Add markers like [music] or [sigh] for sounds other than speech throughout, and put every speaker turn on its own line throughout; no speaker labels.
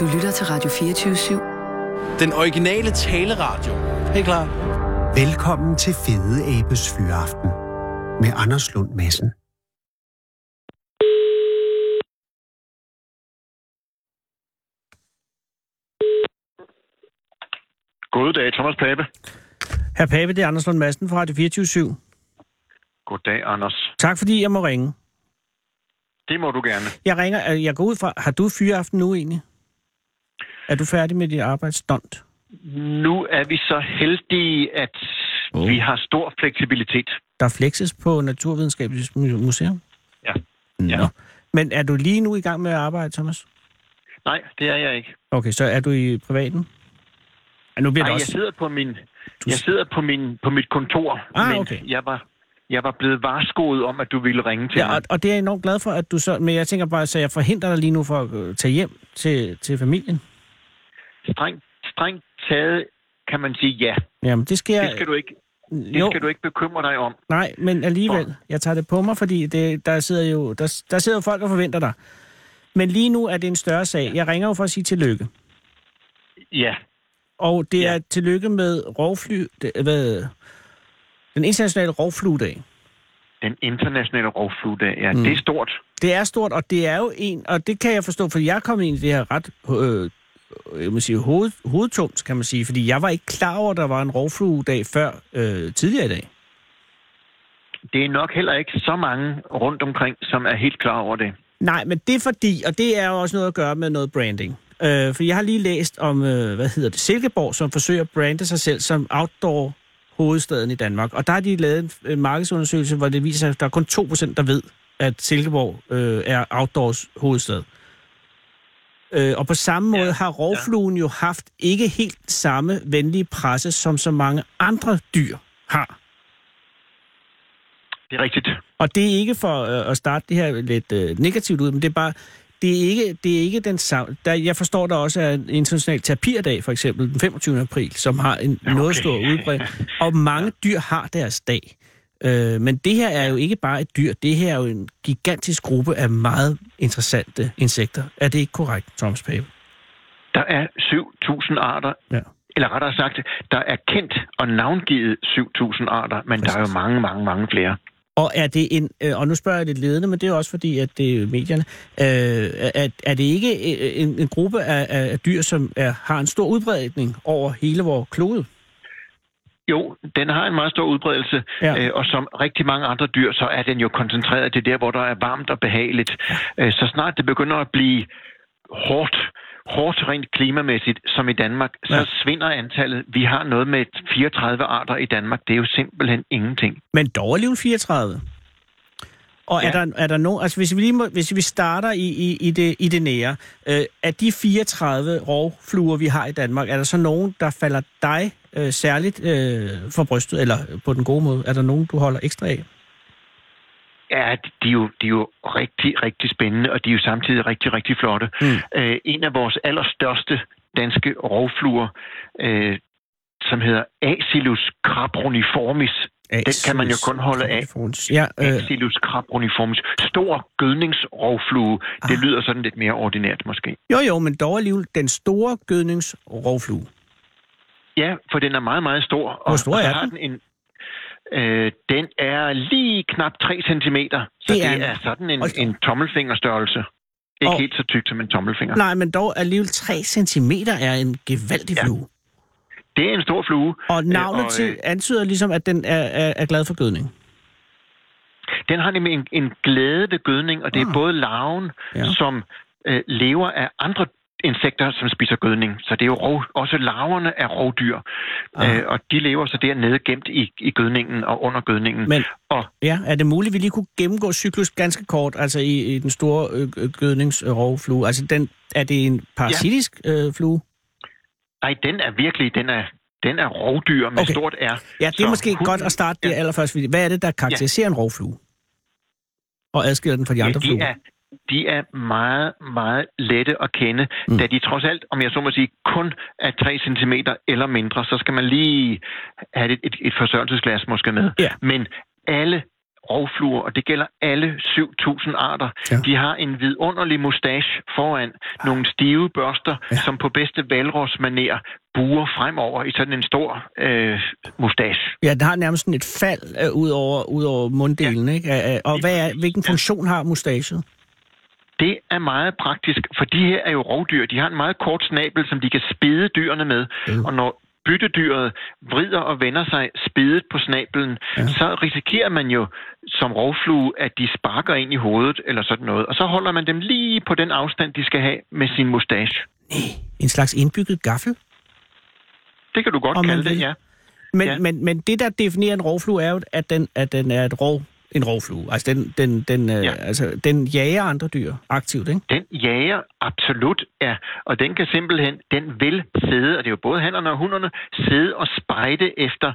Du lytter til Radio 24 /7.
Den originale taleradio. Helt klar.
Velkommen til Fede Abes Fyraften med Anders Lund Madsen.
Goddag, Thomas Pape.
Herr Pape, det er Anders Lund Madsen fra Radio 24
Goddag, Anders.
Tak fordi jeg må ringe.
Det må du gerne.
Jeg ringer, øh, jeg går ud fra, har du fyreaften nu egentlig? Er du færdig med dit arbejdsstunt?
Nu er vi så heldige, at
Oh.
oh. vi har stor fleksibilitet.
Der flexes på Naturvidenskabeligt Mu- Museum.
Ja.
Nå. Men er du lige nu i gang med at arbejde, Thomas?
Nej, det er jeg ikke.
Okay, så er du i privaten? Ja, nu bliver
Nej, jeg
det også...
sidder på min, jeg sidder på min, på mit kontor,
Ah,
men
okay.
jeg var, jeg var blevet varskoet om, at du ville ringe til
Ja,
mig.
og, og det er jeg enormt glad for, at du så... Men jeg tænker bare, så jeg forhindrer dig lige nu for at øh, tage hjem til, til familien.
Strengt, strengt taget kan man sige ja.
Jamen, det skal jeg...
Det skal du ikke, det
jo,
skal du ikke bekymre dig om.
nej, men alligevel. Jeg tager det på mig, fordi det, der, sidder jo, der, der sidder jo folk og forventer dig. Men lige nu er det en større sag. Jeg ringer jo for at sige tillykke.
Ja,
Og det ja.
Ja.
er tillykke med rovfly, det- hvad, den internationale rovfluedag.
den internationale rovfluedag, ja, mm. det er stort.
Det er stort, og det er jo en, og det kan jeg forstå, for jeg er kommet ind i det her ret øh, jeg må sige, hoved, hovedtungt, kan man sige, fordi jeg var ikke klar over, at der var en rovfluedag før øh, tidligere i dag.
Det er nok heller ikke så mange rundt omkring, som er helt klar over det.
Nej, men det er fordi, og det er jo også noget at gøre med noget branding. Øh, for jeg har lige læst om, øh, hvad hedder det, Silkeborg, som forsøger at brande sig selv som outdoor hovedstaden i Danmark. Og der har de lavet en, en markedsundersøgelse, hvor det viser sig, at der er kun 2% der ved, at Silkeborg øh, er outdoors hovedstad. Øh, og på samme måde har rovfluen jo haft ikke helt samme venlige presse, som så mange andre dyr har.
Det er rigtigt.
Og det er ikke for øh, at starte det her lidt øh, negativt ud, men det er bare, det er ikke, det er ikke den samme. Der, jeg forstår, der også er en international tapirdag, for eksempel den 25. april, som har en okay. noget stor udbredelse. Og mange dyr har deres dag. Øh, men det her er jo ikke bare et dyr, det her er jo en gigantisk gruppe af meget interessante insekter. Er det ikke korrekt, Thomas Pape?
Der er 7.000 arter,
Ja.
eller rettere sagt, der er kendt og navngivet 7.000 arter, men der er jo mange, mange, mange flere.
Og er det en, øh, og nu spørger jeg lidt ledende, men det er også fordi, at det er medierne, øh, er, er det ikke øh, en, en gruppe af, af af dyr, som er, har en stor udbredning over hele vores klode?
Jo, den har en meget stor udbredelse,
Ja.
ja. øh, og som rigtig mange andre dyr, så er den jo koncentreret til der, hvor der er varmt og behageligt. Øh, så snart det begynder at blive hårdt, hårdt rent klimamæssigt, som i Danmark, så
Ja.
ja. svinder antallet. Vi har noget med 34 arter i Danmark. Det er jo simpelthen ingenting.
Men dog alligevel 34. Og ja. er
Ja.
der, er der nogen, altså hvis vi, lige må, hvis vi starter i, i, i, det, i det nære, øh, af de 34 rovfluer, vi har i Danmark, er der så nogen, der falder dig øh, særligt øh, for brystet, eller på den gode måde, er der nogen, du holder ekstra af?
Ja, de er, jo, de er jo rigtig, rigtig spændende, og de er jo samtidig rigtig, rigtig flotte.
Mm.
Mm. Øh, en af vores allerstørste danske rovfluer, øh, som hedder Asilus crabruniformis. Den kan man jo kun holde af.
Ja, øh,
Asilus crabruniformis. Stor gødningsrovflue. Det
Ah.
lyder sådan lidt mere ordinært måske.
Jo, jo, men dog alligevel den store gødningsrovflue.
Ja, for den er meget, meget stor. Og,
Hvor stor
og så
er
har
den?
en, øh, den er lige knap 3 cm, så
Det
det, det
er
er,
en-
er sådan en,
Hold da.
en tommelfingerstørrelse. Ikke
Og-
helt så tyk som en tommelfinger.
Nej, men dog alligevel 3 cm er en gevaldig
Ja.
flue.
Det er en stor flue.
Og navnet
Øh, og,
til
øh, Mm.
antyder ligesom, at den er, er, er glad for gødning.
Den har nemlig en, en glæde ved gødning, og det er
Ah.
både larven,
Ja.
ja. som øh, lever af andre insekter, som spiser gødning. Så det er jo rov, også larverne er rovdyr,
Ah.
øh, og de lever så dernede gemt i, i gødningen og under gødningen.
Men
Og
ja, er det muligt, at vi lige kunne gennemgå cyklus ganske kort, altså i, i den store øh, øh, gødningsrovflue? Altså, den, er det en parasitisk øh, flue?
nej, den er virkelig, den er, den er rovdyr med
Okay.
okay. stort R.
Ja, det er
Så
måske
hun-
godt at starte der
Ja.
allerførst. fordi Hvad er det, der karakteriserer en rovflue? Og adskiller den fra de andre
de
fluer?
er, de er meget, meget lette at kende,
Mm.
mm. da de trods alt, om jeg så må sige, kun er 3 cm eller mindre, så skal man lige have et, et, et forsørgelsesglas måske med.
Ja.
Men alle rovfluer, og det gælder alle 7.000 arter.
Ja.
Ja. De har en vidunderlig mustache foran, nogle stive børster, ja. som på bedste valrosmaner buer fremover i sådan en stor øh, mustache.
Ja, den har nærmest sådan et fald øh, ud over, ud over munddelen, ja. ikke? Øh, øh, Og hvad er, hvilken funktion har mustaget?
Det er meget praktisk, for de her er jo rovdyr. De har en meget kort snabel, som de kan spide dyrene med.
Øh.
Og når byttedyret vrider og vender sig spidet på snabelen,
Ja.
ja. så risikerer man jo som rovflue, at de sparker ind i hovedet eller sådan noget. Og så holder man dem lige på den afstand, de skal have med sin mustache.
En slags indbygget gaffel?
Det kan du godt
Om man
kalde det,
vil.
ja.
Men, ja.
Ja.
men, men det, der definerer en rovflue, er jo, at den, at den er et rov, en rovflue. Altså, den, den, den, øh,
Ja.
altså, den jager andre dyr aktivt, ikke?
Den jager absolut er, og den kan simpelthen, den vil sidde, og det er jo både hannerne og hunderne, sidde og spejde efter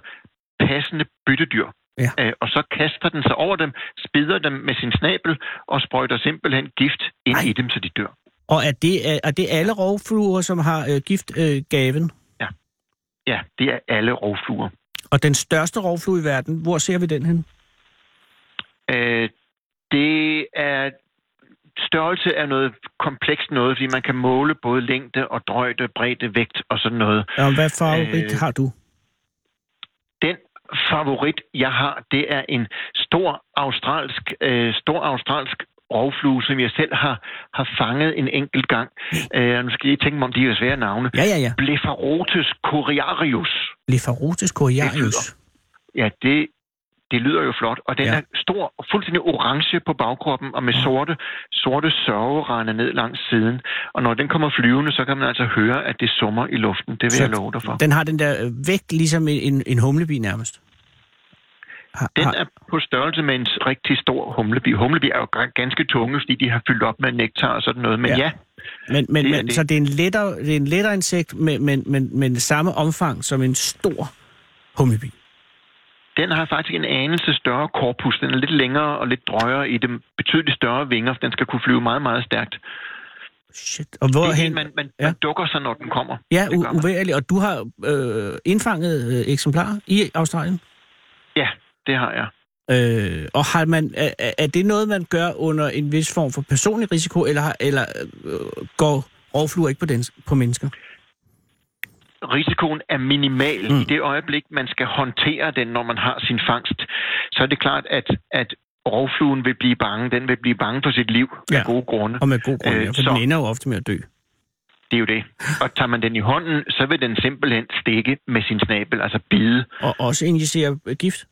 passende byttedyr.
Ja.
Øh, og så kaster den sig over dem, spider dem med sin snabel og sprøjter simpelthen gift ind
Ej.
Ej. i dem, så de dør.
Og er det, er, er det alle rovfluer, som har øh, giftgaven? Øh, gaven?
Ja, det er alle rovfluer.
og den største rovflue i verden, hvor ser vi den hen?
Øh, det er størrelse er noget komplekst noget, fordi man kan måle både længde og drøjde, bredde, vægt og sådan noget.
Og hvad farverigt øh...
Øh,
har du?
den favorit, jeg har, det er en stor australsk, øh, stor australsk rovflue, som jeg selv har, har fanget en enkelt gang. Øh, nu skal I tænke mig, om de er svære navne.
Ja, ja, ja.
Blepharotes coriarius.
Lefarotis coriarius.
Ja, det, det lyder jo flot. Og den
Ja. Mm.
ja. er stor og fuldstændig orange på bagkroppen, og med sorte, sorte sørgerande ned langs siden. Og når den kommer flyvende, så kan man altså høre, at det summer i luften. Det vil
Så
jeg love dig for.
Den har den der øh, vægt, ligesom en- en, en humlebi nærmest. Har,
Den
har,
er på størrelse med en rigtig stor humlebi. Humlebi er jo gra- ganske tunge, fordi de har fyldt op med nektar og sådan noget. Men
Ja.
ja, ja
men, men,
det er
men,
det.
Så det er en lettere, det er en lettere insekt, men, men, men, men samme omfang som en stor humlebi.
den har faktisk en anelse større korpus. Den er lidt længere og lidt drøjere i det. Betydeligt større vinger, for den skal kunne flyve meget, meget stærkt.
Shit. Og
Det er
hvorhen?
en, man, man,
Ja.
ja. man dukker sig, når den kommer.
ja,
det gør man.
uværlig. Og du har øh, indfanget øh, eksemplarer i Australien?
Ja, det har jeg.
Øh, og har man, er, er- er det noget, man gør under en vis form for personlig risiko, eller, har- eller øh, går rovfluer ikke på, den, på mennesker?
risikoen er minimal
Mm.
mm. i det øjeblik, man skal håndtere den, når man har sin fangst, så er det klart, at, at rovfluen vil blive bange. Den vil blive bange for sit liv ja.
Ja.
af gode grunde.
Og med god grund,
Øh,
øh, for
så-
den ender jo ofte med at dø.
Det er jo det. Og tager man den i hånden, så vil den simpelthen stikke med sin snabel, altså bide.
Og også injicere øh, gift?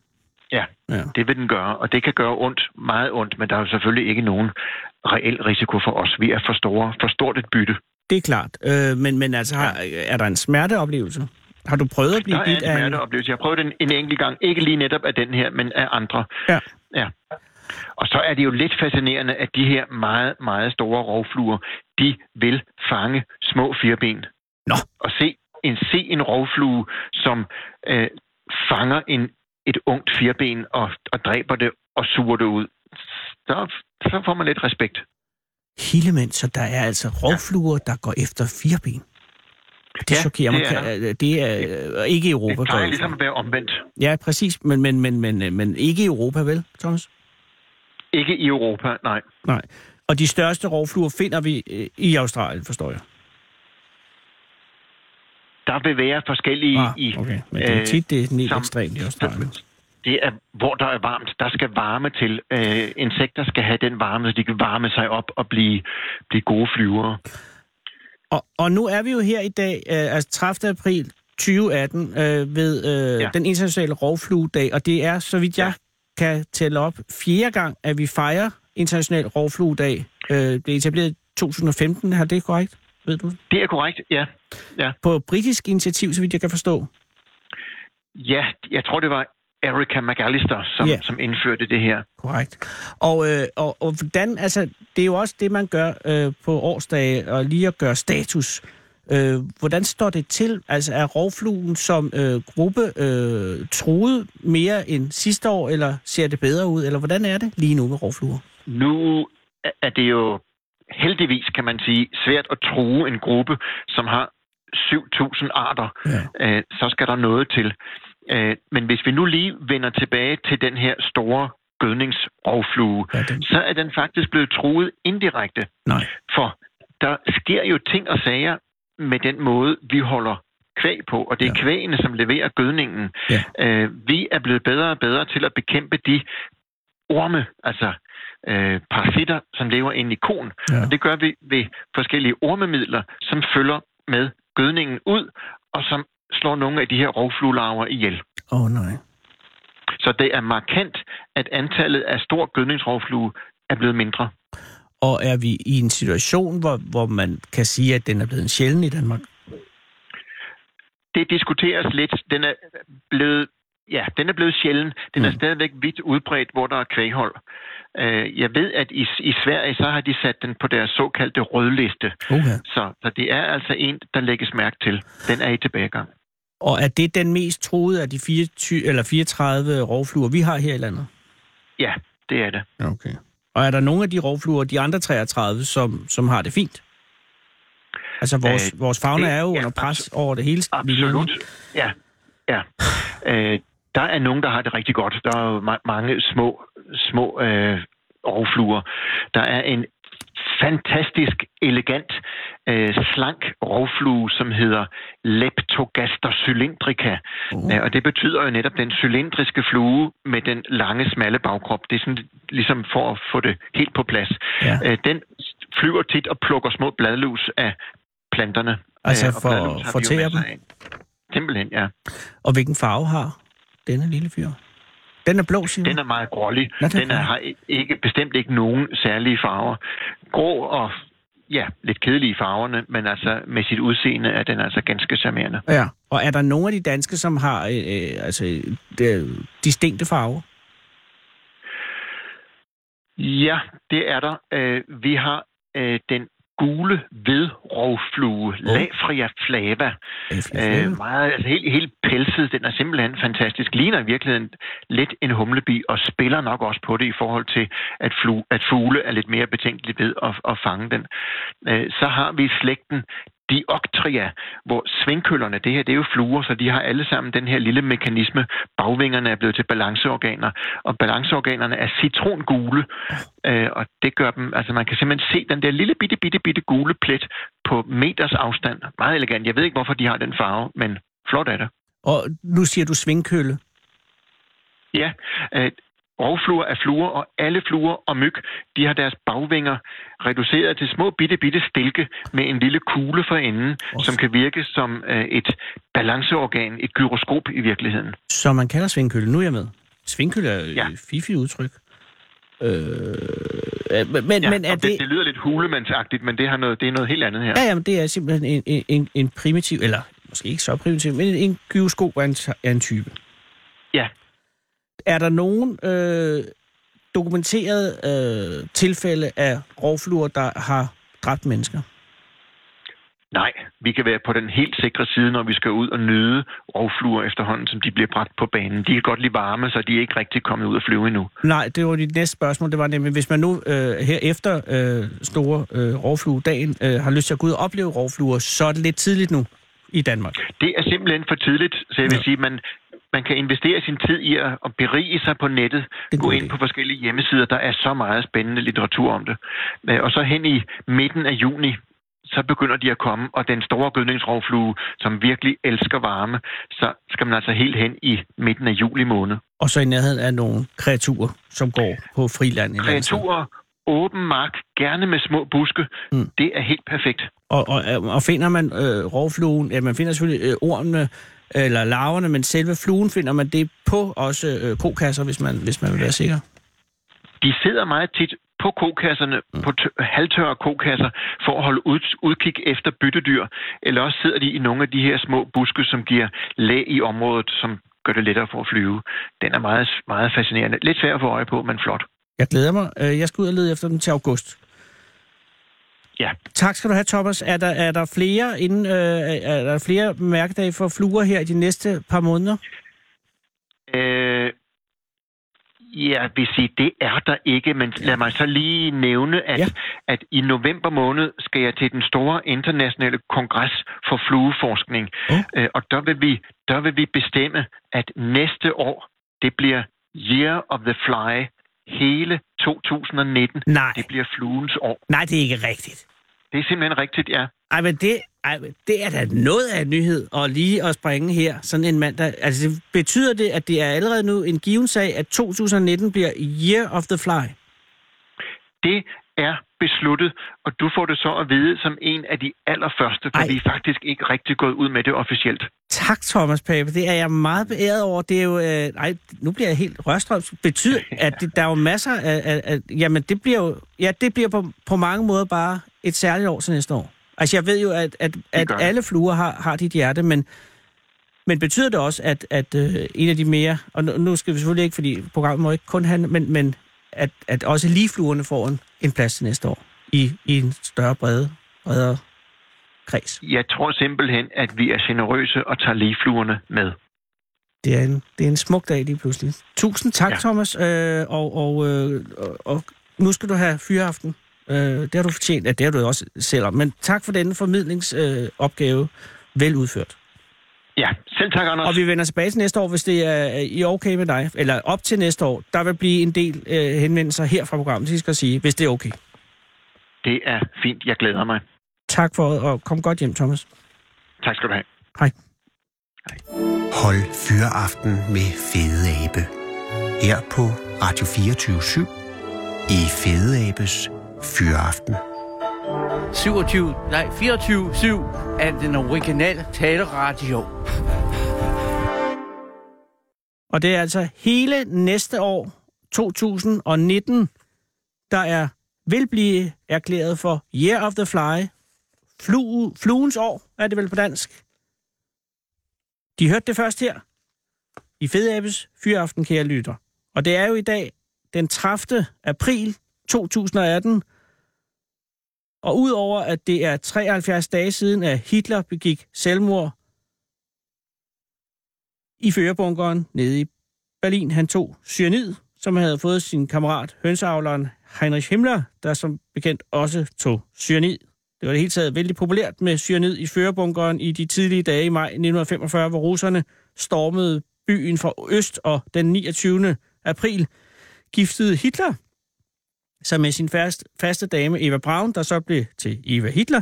Ja,
Ja.
det vil den gøre, og det kan gøre ondt, meget ondt, men der er jo selvfølgelig ikke nogen reel risiko for os. Vi er for store, for stort et bytte.
Det er klart. Øh, men, men altså, har, er der en smerteoplevelse? Har du prøvet at blive
Der er en
bidt af en...
smerteoplevelse. Jeg prøvede den en enkelt gang. Ikke lige netop af den her, men af andre.
Ja.
ja. Og så er det jo lidt fascinerende, at de her meget, meget store rovfluer, de vil fange små firben.
Nå.
Og se en, se en rovflue, som øh, fanger en, et ungt firben og, og dræber det og suger det ud. Så, så får man lidt respekt.
Hilemænd, så der er altså rovfluer, der går efter fireben. Det
Ja,
chokerer mig.
det er
Kan- Det er øh, ikke i Europa.
Det
går
plejer
jeg ud fra.
ligesom at være omvendt.
Ja, præcis. Men, men, men, men, øh, men ikke i Europa, vel, Thomas?
Ikke i Europa, nej.
Nej. Og de største rovfluer finder vi øh, i Australien, forstår jeg.
Der vil være forskellige i...
Ah, okay. Men det er
øh,
tit det er helt
som-
ekstremt i Australien.
det er, hvor der er varmt. Der skal varme til. Øh, insekter skal have den varme, så de kan varme sig op og blive, blive gode flyvere.
Og, og nu er vi jo her i dag, øh, altså 30. april 2018, øh, ved øh, ja.
Ja.
den internationale rovfluedag, og det er, så vidt jeg kan tælle op, fjerde gang, at vi fejrer international rovfluedag. Øh, det er etableret i 2015, har det korrekt? Ved du?
Det er korrekt, ja.
På britisk initiativ, så vidt jeg kan forstå.
Ja, jeg tror, det var Erica McAllister, som,
Ja.
yeah. som indførte det her.
Korrekt. Og, øh, og, og hvordan, altså, det er jo også det, man gør øh, på årsdage, og lige at gøre status. Øh, hvordan står det til? Altså, er rovfluen som øh, gruppe øh, truet mere end sidste år, eller ser det bedre ud? Eller hvordan er det lige nu med rovfluer?
Nu er- er det jo heldigvis, kan man sige, svært at true en gruppe, som har 7.000 arter.
Ja.
øh, så skal der noget til. Øh, men hvis vi nu lige vender tilbage til den her store gødningsrovflue,
Ja, den-
så er den faktisk blevet truet indirekte.
Nej.
For der sker jo ting og sager med den måde, vi holder kvæg på, og det er
Ja.
ja. kvægene, som leverer gødningen.
Ja.
Øh, vi er blevet bedre og bedre til at bekæmpe de orme, altså øh, parasitter, som lever inde i koen.
Ja.
Og det gør vi ved forskellige ormemidler, som følger med gødningen ud, og som slår nogle af de her rovfluelarver ihjel.
Åh oh, nej.
Så det er markant, at antallet af stor gødningsrovflue er blevet mindre.
Og er vi i en situation, hvor, hvor man kan sige, at den er blevet en sjælden i Danmark?
det diskuteres lidt. Den er blevet, ja, den er blevet sjælden. Den er stadigvæk vidt udbredt, hvor der er kvæghold. Øh, Jeg ved, at i, i Sverige, så har de sat den på deres såkaldte rødliste.
Okay.
Så, så det er altså en, der lægges mærke til. Den er i tilbagegang.
Og er det den mest truede af de 24, eller 34 rovfluer, vi har her i landet?
Ja, det er det.
Okay. Og er der nogle af de rovfluer, de andre 33, som, som har det fint? Altså, vores, øh,
Øh,
vores fauna
det-
er jo
ja,
under pres over det hele.
Absolut. Ja, ja. Øh, der er nogen, der har det rigtig godt. Der er jo ma- mange små, små øh, rovfluer. Der er en fantastisk elegant øh, slank rovflue, som hedder Leptogaster cylindrica.
Uh.
Uh. Øh, og det betyder jo netop den cylindriske flue med den lange, smalle bagkrop. Det er sådan ligesom for at få det helt på plads.
Ja.
Øh, den flyver tit og plukker små bladlus af planterne.
Altså
Øh, og
for-
bladlus har
for
vi jo
tæer
masser
dem? Mm.
af. Simpelthen, ja.
Og hvilken farve har denne lille fyr? Den er blå, siger
Den er meget grålig.
Nå, den er
Den er,
grålig.
har ikke, bestemt ikke nogen særlige farver. Grå og ja, lidt kedelige i farverne, men altså med sit udseende er den altså ganske charmerende.
Ja. Og er der nogle af de danske, som har øh, øh, altså, de, distinkte farver?
Ja, det er der. Øh, vi har øh, den gule vedrovflue, oh. Lafria flava. Øh, meget, altså helt, helt pelset. Den er simpelthen fantastisk. Ligner i virkeligheden lidt en humlebi, og spiller nok også på det i forhold til, at, flu, at fugle er lidt mere betænkelige ved at, at fange den. Øh, så har vi slægten Dioptria, hvor svingkøllerne, det her, det er jo fluer, så de har alle sammen den her lille mekanisme. Bagvingerne er blevet til balanceorganer, og balanceorganerne er citrongule, øh, og det gør dem, altså man kan simpelthen se den der lille bitte, bitte, bitte gule plet på meters afstand. Meget elegant. Jeg ved ikke, hvorfor de har den farve, men flot er det.
Og nu siger du svingkølle.
Ja, øh, rovfluer er fluer, og alle fluer og myg, de har deres bagvinger reduceret til små bitte, bitte stilke med en lille kugle for enden,
Åh,
som kan virke som øh, et balanceorgan, et gyroskop i virkeligheden.
Så man kalder svingkølle. Nu er jeg med. Svingkølle er ja.
Ja.
et fifi udtryk. Øh, men men,
Ja,
ja, men er
og det,
det...
det lyder lidt hulemandsagtigt, men det, har noget, det er noget helt andet her.
Ja, jamen, det er simpelthen en, en, en, en primitiv, eller måske ikke så primitiv, men en gyroskop er en, er en type.
Ja.
Er der nogen øh, dokumenteret øh, tilfælde af rovfluer, der har dræbt mennesker?
Nej, vi kan være på den helt sikre side, når vi skal ud og nyde rovfluer efterhånden, som de bliver bragt på banen. De kan godt lide varme, så de er ikke rigtig kommet ud at flyve endnu.
Nej, det var dit næste spørgsmål. Det var nemlig, hvis man nu øh, her efter øh, store øh, rovfluedagen øh, har lyst til at gå ud og opleve rovfluer, så er det lidt tidligt nu i Danmark.
Det er simpelthen for tidligt, så jeg vil sige, man, man kan investere sin tid i at, at berige sig på nettet.
en
Gå
god
ind
idé.
på forskellige hjemmesider, der er så meget spændende litteratur om det. Øh, Og så hen i midten af juni, så begynder de at komme, og den store gødningsrovflue, som virkelig elsker varme, så skal man altså helt hen i midten af juli måned.
Og så i nærheden af nogle kreaturer, som går på friland. et eller andet sted.
Kreaturer, åben mark, gerne med små buske,
Mm.
mm. det er helt perfekt.
Og, og, og finder man øh, rovfluen, ja, man finder selvfølgelig øh, ormene eller larverne, men selve fluen finder man det på også øh, kokasser, hvis man, hvis man vil være sikker.
De sidder meget tit på kokasserne, på t- halvtørre kokasser, for at holde ud- udkig efter byttedyr. Eller også sidder de i nogle af de her små buske, som giver læ i området, som gør det lettere for at flyve. Den er meget, meget fascinerende. Lidt svær at få øje på, men flot.
Jeg glæder mig. Øh, Jeg skal ud og lede efter dem til august.
Ja.
Tak skal du have, Thomas. Er der, er der flere inden, øh, er der flere mærkedage for fluer her i de næste par måneder?
Øh, jeg vil sige, det er der ikke, men lad mig så lige nævne, at,
Ja.
ja. at i november måned skal jeg til den store internationale kongres for flueforskning.
Ja.
Øh, og der vil, vi, der vil vi bestemme, at næste år, det bliver Year of the Fly hele 2019.
Nej.
Det bliver fluens år.
Nej, det er ikke rigtigt.
Det er simpelthen rigtigt, ja.
Ej, men det, ej, men det er da noget af en nyhed, og lige at springe her, sådan en mand, der... Altså, det betyder det, at det er allerede nu en given sag, at 2019 bliver Year of the Fly?
Det er besluttet, og du får det så at vide som en af de allerførste, for
Ej.
Ej. vi er faktisk ikke rigtig gået ud med det officielt.
Tak, Thomas Pape. Det er jeg meget beæret over. Det er jo... Øh, ej, nu bliver jeg helt rørstrøms.
[laughs]
Betyder, at det, der er jo masser af, af, af... Jamen, det bliver jo... Ja, det bliver på, på mange måder bare et særligt år til næste år. Altså, jeg ved jo, at, at, at
gør det.
alle fluer har, har dit hjerte, men, men betyder det også, at, at øh, en af de mere... Og nu, nu skal vi selvfølgelig ikke, fordi programmet må ikke kun handle, men, men at, at også lige fluerne får en, en plads til næste år i, i en større, brede, bredere kreds.
Jeg tror simpelthen, at vi er generøse og tager ligefluerne med.
Det er, en, det er en smuk dag lige pludselig. Tusind tak, ja.
Ja.
Thomas. Øh, og, og, øh, og, og nu skal du have fyreaften. Øh, det har du fortjent, ja, det har du jo også selv om. Men tak for denne formidlingsopgave. Øh, opgave. Vel udført.
Ja, selv tak, Anders.
Og vi vender tilbage til næste år, hvis det er øh, i er okay med dig. Eller op til næste år. Der vil blive en del øh, henvendelser her fra programmet, det skal jeg sige, hvis det er okay.
Det er fint. Jeg glæder mig.
Tak for det, og kom godt hjem, Thomas.
Tak skal du have.
Hej.
Hold Fyraften med Fede Abe. Her på Radio 24 i Fede Abes Fyraften.
27, nej 24-7 af den originale taleradio.
Og det er altså hele næste år, 2019, der er vil blive erklæret for Year of the Fly. Flu, fluens år er det vel på dansk. De hørte det først her i Fede Abes Fyraften, kære lytter. Og det er jo i dag den 30. april 2018. Og udover at det er 73 dage siden, at Hitler begik selvmord i førerbunkeren nede i Berlin. Han tog cyanid, som han havde fået sin kammerat, hønseavleren Heinrich Himmler, der som bekendt også tog cyanid. Det var i det hele taget vældig populært med cyanid i førerbunkeren i de tidlige dage i maj 1945, hvor russerne stormede byen fra øst, og den 29. april giftede Hitler sig med sin fast, faste dame Eva Braun, der så blev til Eva Hitler,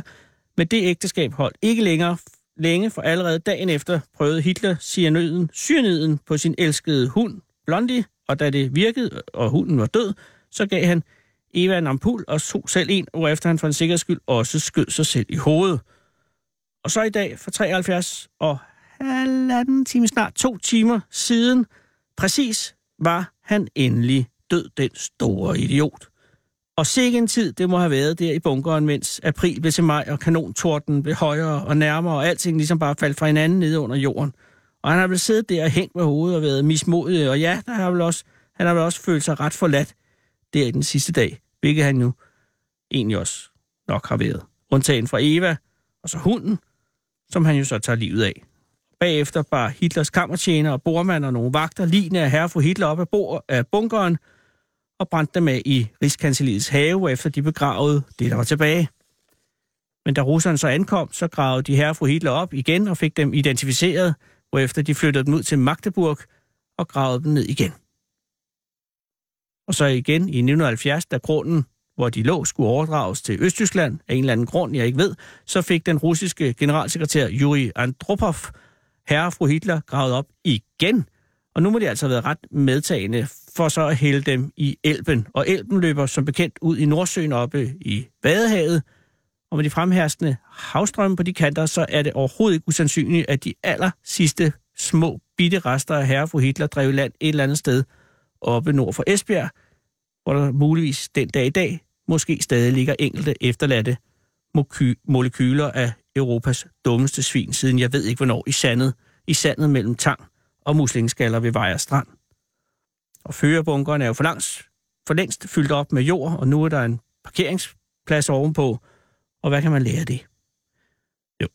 men det ægteskab holdt ikke længere længe, for allerede dagen efter prøvede Hitler cyaniden, cyaniden på sin elskede hund, Blondie, og da det virkede, og hunden var død, så gav han Eva en ampul og tog selv en, hvorefter han for en sikkerheds skyld også skød sig selv i hovedet. Og så i dag, for 73 og halvanden time, snart to timer siden, præcis var han endelig død, den store idiot. Og sikke en tid, det må have været der i bunkeren, mens april blev til maj, og kanontorten blev højere og nærmere, og alting ligesom bare faldt fra hinanden ned under jorden. Og han har vel siddet der og hængt med hovedet og været mismodig, og ja, der har vel også, han har vel også følt sig ret forladt der i den sidste dag, hvilket han nu egentlig også nok har været. Undtagen fra Eva, og så hunden, som han jo så tager livet af. Bagefter bar Hitlers kammertjener og bormand og nogle vagter lignende af herre og fru Hitler op af, bord, af bunkeren, og brændte dem af i Rigskanseliets have, efter de begravede det, der var tilbage. Men da russerne så ankom, så gravede de herre og fru Hitler op igen og fik dem identificeret, hvorefter de flyttede dem ud til Magdeburg og gravede dem ned igen. Og så igen i 1970, da grunden, hvor de lå, skulle overdrages til Østtyskland af en eller anden grund, jeg ikke ved, så fik den russiske generalsekretær Yuri Andropov herre og fru Hitler gravet op igen – og nu må de altså have været ret medtagende for så at hælde dem i elven. Og elven løber som bekendt ud i Nordsøen oppe i Vadehavet. Og med de fremherskende havstrømme på de kanter, så er det overhovedet ikke usandsynligt, at de aller sidste små bitte rester af herre fru Hitler drev i land et eller andet sted oppe nord for Esbjerg, hvor der muligvis den dag i dag måske stadig ligger enkelte efterladte moky- molekyler af Europas dummeste svin, siden jeg ved ikke hvornår i sandet, i sandet mellem tang og muslingeskaller ved Vejer Strand. Og førerbunkeren er jo for, langs, for længst fyldt op med jord, og nu er der en parkeringsplads ovenpå. Og hvad kan man lære af det? Jo,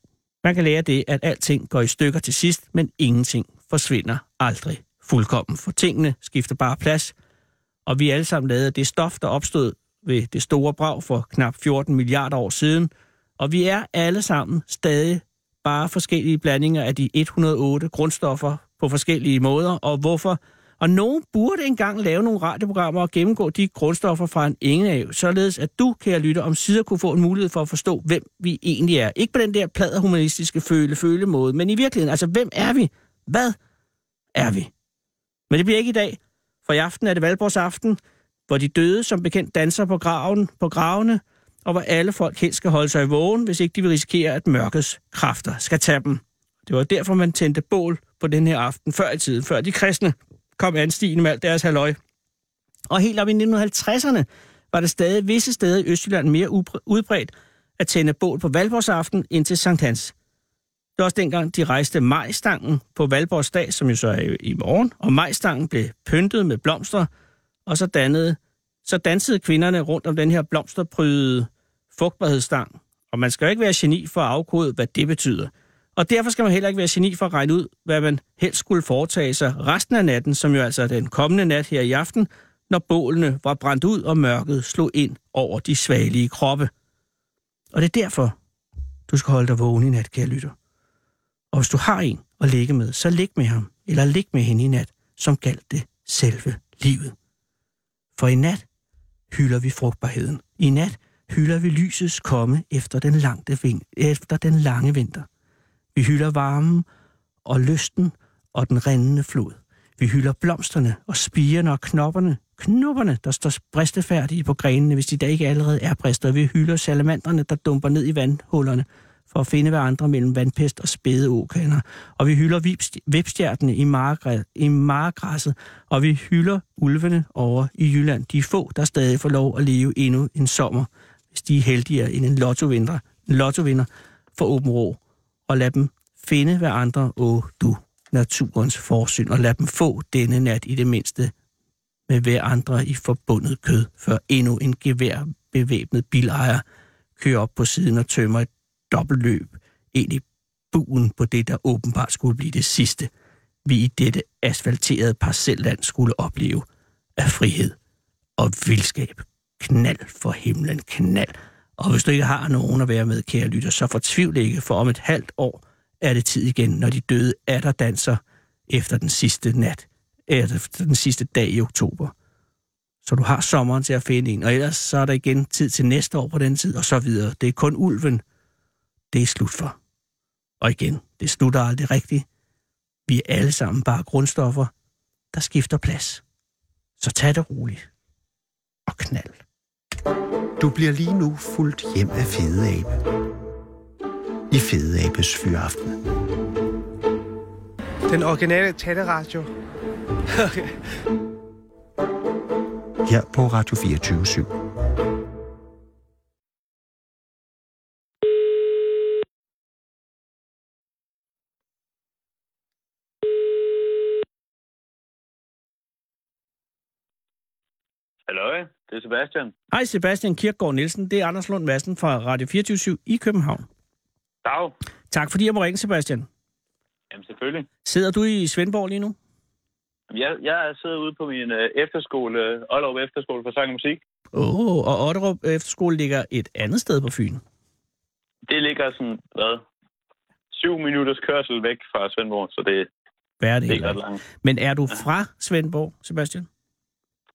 man kan lære af det, at alting går i stykker til sidst, men ingenting forsvinder aldrig fuldkommen, for tingene skifter bare plads. Og vi er alle sammen lavet af det stof, der opstod ved det store brag for knap 14 milliarder år siden. Og vi er alle sammen stadig bare forskellige blandinger af de 108 grundstoffer på forskellige måder, og hvorfor Og nogen burde engang lave nogle radioprogrammer og gennemgå de grundstoffer fra en engeav, således at du, kære lytte, om sider kunne få en mulighed for at forstå, hvem vi egentlig er. Ikke på den der pladerhumanistiske føle-føle-måde, men i virkeligheden, altså hvem er vi? Hvad er vi? Men det bliver ikke i dag, for i aften er det Valborgsaften, hvor de døde som bekendt danser på, graven, på gravene, og hvor alle folk helst skal holde sig i vågen, hvis ikke de vil risikere, at mørkets kræfter skal tage dem. Det var derfor, man tændte bål på den her aften før i tiden, før de kristne kom anstigende med alt deres halløj. Og helt op i 1950'erne var det stadig visse steder i Østjylland mere upre- udbredt at tænde bål på Valborgsaften indtil Sankt Hans. Det var også dengang, de rejste majstangen på Valborgsdag, som jo så er i morgen, og majstangen blev pyntet med blomster, og så, dannede, så dansede kvinderne rundt om den her blomsterprydede fugtbarhedsstang. Og man skal jo ikke være geni for at afkode, hvad det betyder. Og derfor skal man heller ikke være geni for at regne ud, hvad man helst skulle foretage sig resten af natten, som jo altså er den kommende nat her i aften, når bålene var brændt ud, og mørket slog ind over de svagelige kroppe. Og det er derfor, du skal holde dig vågen i nat, kære lytter. Og hvis du har en at ligge med, så lig med ham, eller lig med hende i nat, som galt det selve livet. For i nat hylder vi frugtbarheden. I nat hylder vi lysets komme efter den, langte vin- efter den lange vinter. Vi hylder varmen og lysten og den rindende flod. Vi hylder blomsterne og spirene og knopperne. Knopperne, der står bristefærdige på grenene, hvis de da ikke allerede er brister. Vi hylder salamanderne, der dumper ned i vandhullerne for at finde hverandre mellem vandpest og spæde åkander. Og vi hylder vipst- vipstjertene i, margræ- i margræsset, og vi hylder ulvene over i Jylland. De er få, der stadig får lov at leve endnu en sommer, hvis de er heldigere end en lottovinder, lottovinder for Åben Rå. Og lad dem finde hverandre, åh du, naturens forsyn, og lad dem få denne nat i det mindste med hver andre i forbundet kød, før endnu en geværbevæbnet bilejer kører op på siden og tømmer et dobbeltløb ind i buen på det, der åbenbart skulle blive det sidste, vi i dette asfalterede parcelland skulle opleve af frihed og vildskab. Knald for himlen, knald. Og hvis du ikke har nogen at være med, kære lytter, så fortvivl ikke, for om et halvt år er det tid igen, når de døde er der danser efter den sidste nat, efter den sidste dag i oktober. Så du har sommeren til at finde en, og ellers så er der igen tid til næste år på den tid, og så videre. Det er kun ulven, det er slut for. Og igen, det slutter aldrig rigtigt. Vi er alle sammen bare grundstoffer, der skifter plads. Så tag det roligt. Og knald.
Du bliver lige nu fuldt hjem af Fede Abe. I Fede Abes Fyraften.
Den originale taleradio.
Her på Radio 24 /7.
Hallo, det er Sebastian.
Hej Sebastian Kirkgaard Nielsen, det er Anders Lund Madsen fra Radio 24 i København.
Dag.
Tak fordi jeg må ringe, Sebastian.
Jamen selvfølgelig.
Sidder du i Svendborg lige nu?
Jeg, jeg sidder ude på min øh, efterskole, øh, Aalrup Efterskole for Sang og Musik.
Åh, oh, og Otterup Efterskole ligger et andet sted på Fyn.
Det ligger sådan, hvad, syv minutters kørsel væk fra Svendborg, så det,
Hvad er det?
det er ikke
heller
ret
ikke?
langt.
Men er du fra Svendborg, Sebastian?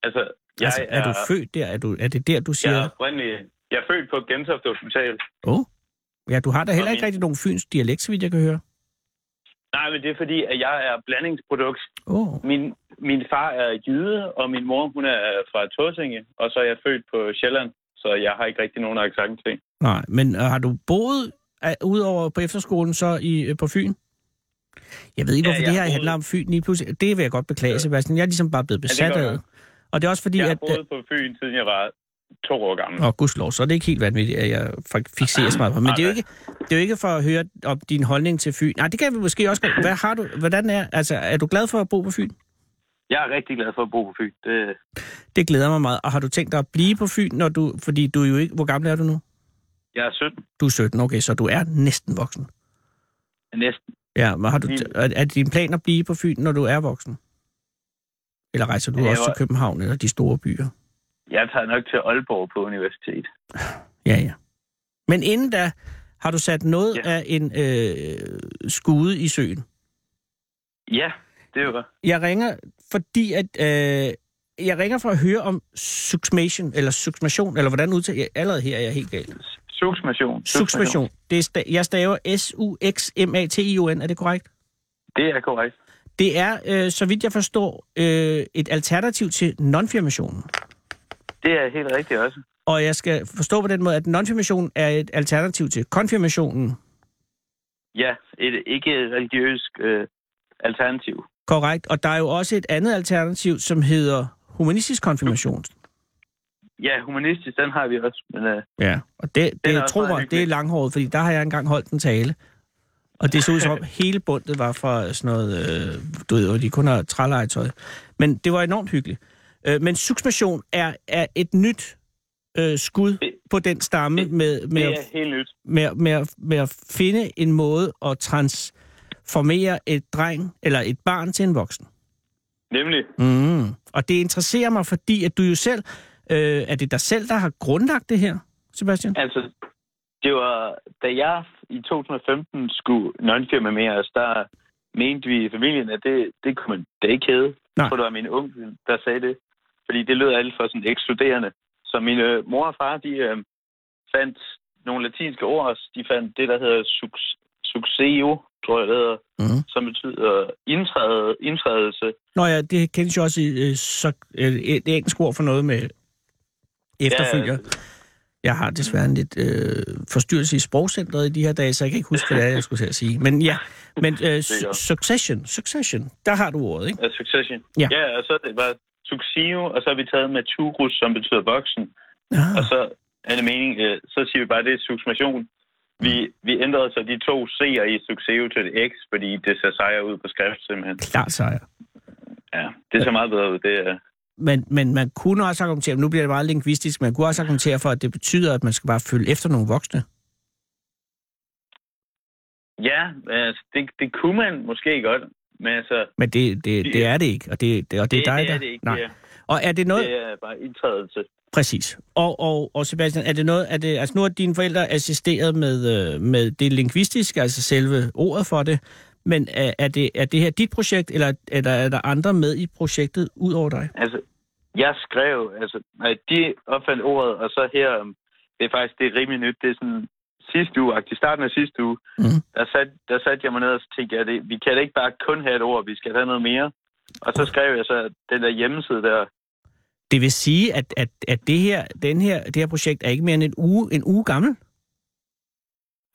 Altså, jeg
altså, er, er du født der? Er, du, er det der, du siger?
jeg er oprindelig, jeg er født på Gentofte Hospital.
Åh. Oh. Ja, du har da heller
Og
ikke
min-
rigtig nogen fyns dialekt, så vidt jeg kan høre.
Nej, men det er fordi, at jeg er blandingsprodukt.
Åh. Oh.
Min, min far er jyde, og min mor, hun er øh, fra Torsinge, og så er jeg født på Sjælland, så jeg har ikke rigtig nogen accent til.
Nej, men øh, har du boet øh, udover på efterskolen så i, øh, på Fyn? Jeg ved ikke,
Ja,
hvorfor ja,
jeg
det her
har boet-
handler om Fyn lige pludselig. Det vil jeg godt beklage, Sebastian. Jeg er ligesom bare blevet
det
besat
gør
af
jeg.
det. Og det er også fordi,
Jeg har
at... øh,
boet på Fyn, siden jeg var to år gammel.
Nå, gudslov, så er det ikke helt vanvittigt, at jeg fik- fixerer så meget på. Men det er, jo ikke, det er jo ikke for at høre om din holdning til Fyn. Nej, det kan vi måske også godt. Hvad har du, hvordan er, altså, er du glad for at bo på Fyn?
Jeg er rigtig glad for at bo på Fyn. Det,
Det glæder mig meget. Og har du tænkt dig at blive på Fyn, når du, fordi du er jo ikke... Hvor gammel er du nu?
jeg er 17
Du er 17, okay, så du er næsten voksen.
næsten.
Ja, men har du,
Mm.
er, er din plan at blive på Fyn, når du er voksen? Eller rejser du
Ja, jeg
også
var-
til København eller de store byer?
Jeg tager nok til Aalborg på universitet.
Ja, ja. Men inden da, har du sat noget
Ja.
af en øh, skude i søen?
Ja, det er jo godt.
Jeg ringer, fordi at... Øh, jeg ringer for at høre om suksmation, eller suksmation, eller hvordan udtaler jeg? Allerede her er jeg helt galt.
Suksmation.
Suksmation. Det er sta- jeg staver S-U-X-M-A-T-I-O-N. Er det korrekt?
Det er korrekt.
Det er, øh, så vidt jeg forstår, øh, et alternativ til nonfirmationen.
Det er helt rigtigt også.
Og jeg skal forstå på den måde, at nonfirmationen er et alternativ til konfirmationen.
Ja, et ikke religiøst øh, alternativ.
Korrekt. Og der er jo også et andet alternativ, som hedder humanistisk konfirmation.
Ja, humanistisk, den har vi også, men øh,
Ja. Og det, det
Den er
er,
også
tro
meget
mig, det er
hyggelig. langhåret,
langhåret, fordi der har jeg engang holdt en tale. Og det så ud som
[laughs]
om hele bundet var fra sådan noget, øh, du ved, hvor de kun har trælegetøj. Men det var enormt hyggeligt. Øh, men suksmation er, er et nyt øh, skud på den stamme med, med,
det
at-
er helt nyt.
med, at- med, at- med at finde en måde at transformere et dreng eller et barn til en voksen.
Nemlig,
Mm. Og det interesserer mig, fordi at du jo selv... Øh, er det dig selv, der har grundlagt det her, Sebastian?
altså, det var, da jeg i 2015 skulle nonfirma med os, der mente vi i familien, at det, det kunne man da ikke hedde.
Nej.
Jeg tror, det var min onkel, der sagde det. Fordi det lød alt for sådan ekskluderende. Så min øh, mor og far, de øh, fandt nogle latinske ord. De fandt det, der hedder suc- succeo, tror jeg, det hedder,
Mhm.
som betyder indtræde, indtrædelse.
Nå ja, det kendes jo også i, øh, så, øh, et engelsk ord for noget med efterfølger. Ja. Jeg har desværre en lidt øh, forstyrrelse i sprogcentret i de her dage, så jeg kan ikke huske, hvad det er, jeg skulle til at sige. Men ja, men øh, su- succession, succession, der har du ordet, ikke?
Ja, Succession.
Ja.
ja, og så er det bare Succession, og så har vi taget Maturus, som betyder voksen.
Ah.
Og så er det mening, øh, så siger vi bare, at det er suksmation. Vi, vi ændrede så de to C'er i Succession til et X, fordi det ser sejere ud på skrift simpelthen.
Klart sejr.
Ja, det ser meget bedre ud. Det er,
Men, men man kunne også argumentere, nu bliver det meget lingvistisk, man kunne også argumentere for, at det betyder, at man skal bare følge efter nogle voksne.
ja, altså, det, det kunne man måske godt, men altså...
Men det, det, det
Det-
er det ikke, og det, det, og det,
Det,
er dig,
det er
der...
det ikke.
Nej.
Det er,
Og er det noget...
det er bare indtrædelse.
Præcis. Og, og, og Sebastian, er det noget, er det, altså nu har dine forældre assisteret med, øh, med det lingvistiske, altså selve ordet for det, men er, er, det, er det her dit projekt, eller, eller er der andre med i projektet ud over dig?
Altså, jeg skrev, altså, nej, de opfandt ordet, og så her, øhm, det er faktisk, det er rimelig nyt, det er sådan sidste uge, i starten af sidste uge,
Mhm.
mm. der, satte der satte jeg mig ned og så tænkte, jeg, det, vi kan da ikke bare kun have et ord, vi skal have noget mere. Og så skrev jeg så den der hjemmeside der,
Det vil sige, at, at, at det, her, den her, det her projekt er ikke mere end en uge, en uge gammel?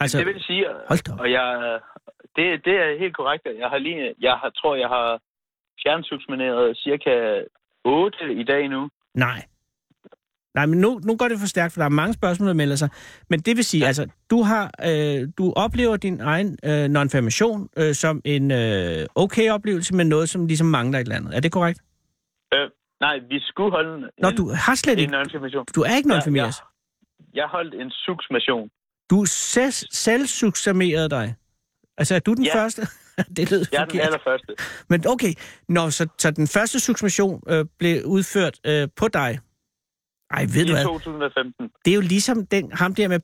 altså, det vil sige,
hold da op.
og jeg, det, det er helt korrekt, at jeg har lige, jeg har, tror, jeg har fjernsuksmineret cirka 8 i dag nu.
Nej. Nej, men nu, nu går det for stærkt, for der er mange spørgsmål, der melder sig. Men det vil sige, altså, du, har, øh, du oplever din egen øh, nonfirmation øh, som en øh, okay oplevelse, men noget, som ligesom mangler et eller andet. Er det korrekt?
Øh, nej, vi skulle holde
Nå,
en,
du har slet
en
ikke...
information.
Du er ikke nonfirmeret.
Ja, Jeg holdt en suksmation.
Du selv, selv suksamerede dig. Altså, er du den
Ja.
første? [laughs] det lød
Jeg er den
forkert.
allerførste.
Men okay, Nå, så, så den første suksation øh, blev udført øh, på dig. Ej, ved du altså
I
hvad?
2015.
det er jo ligesom den, ham der med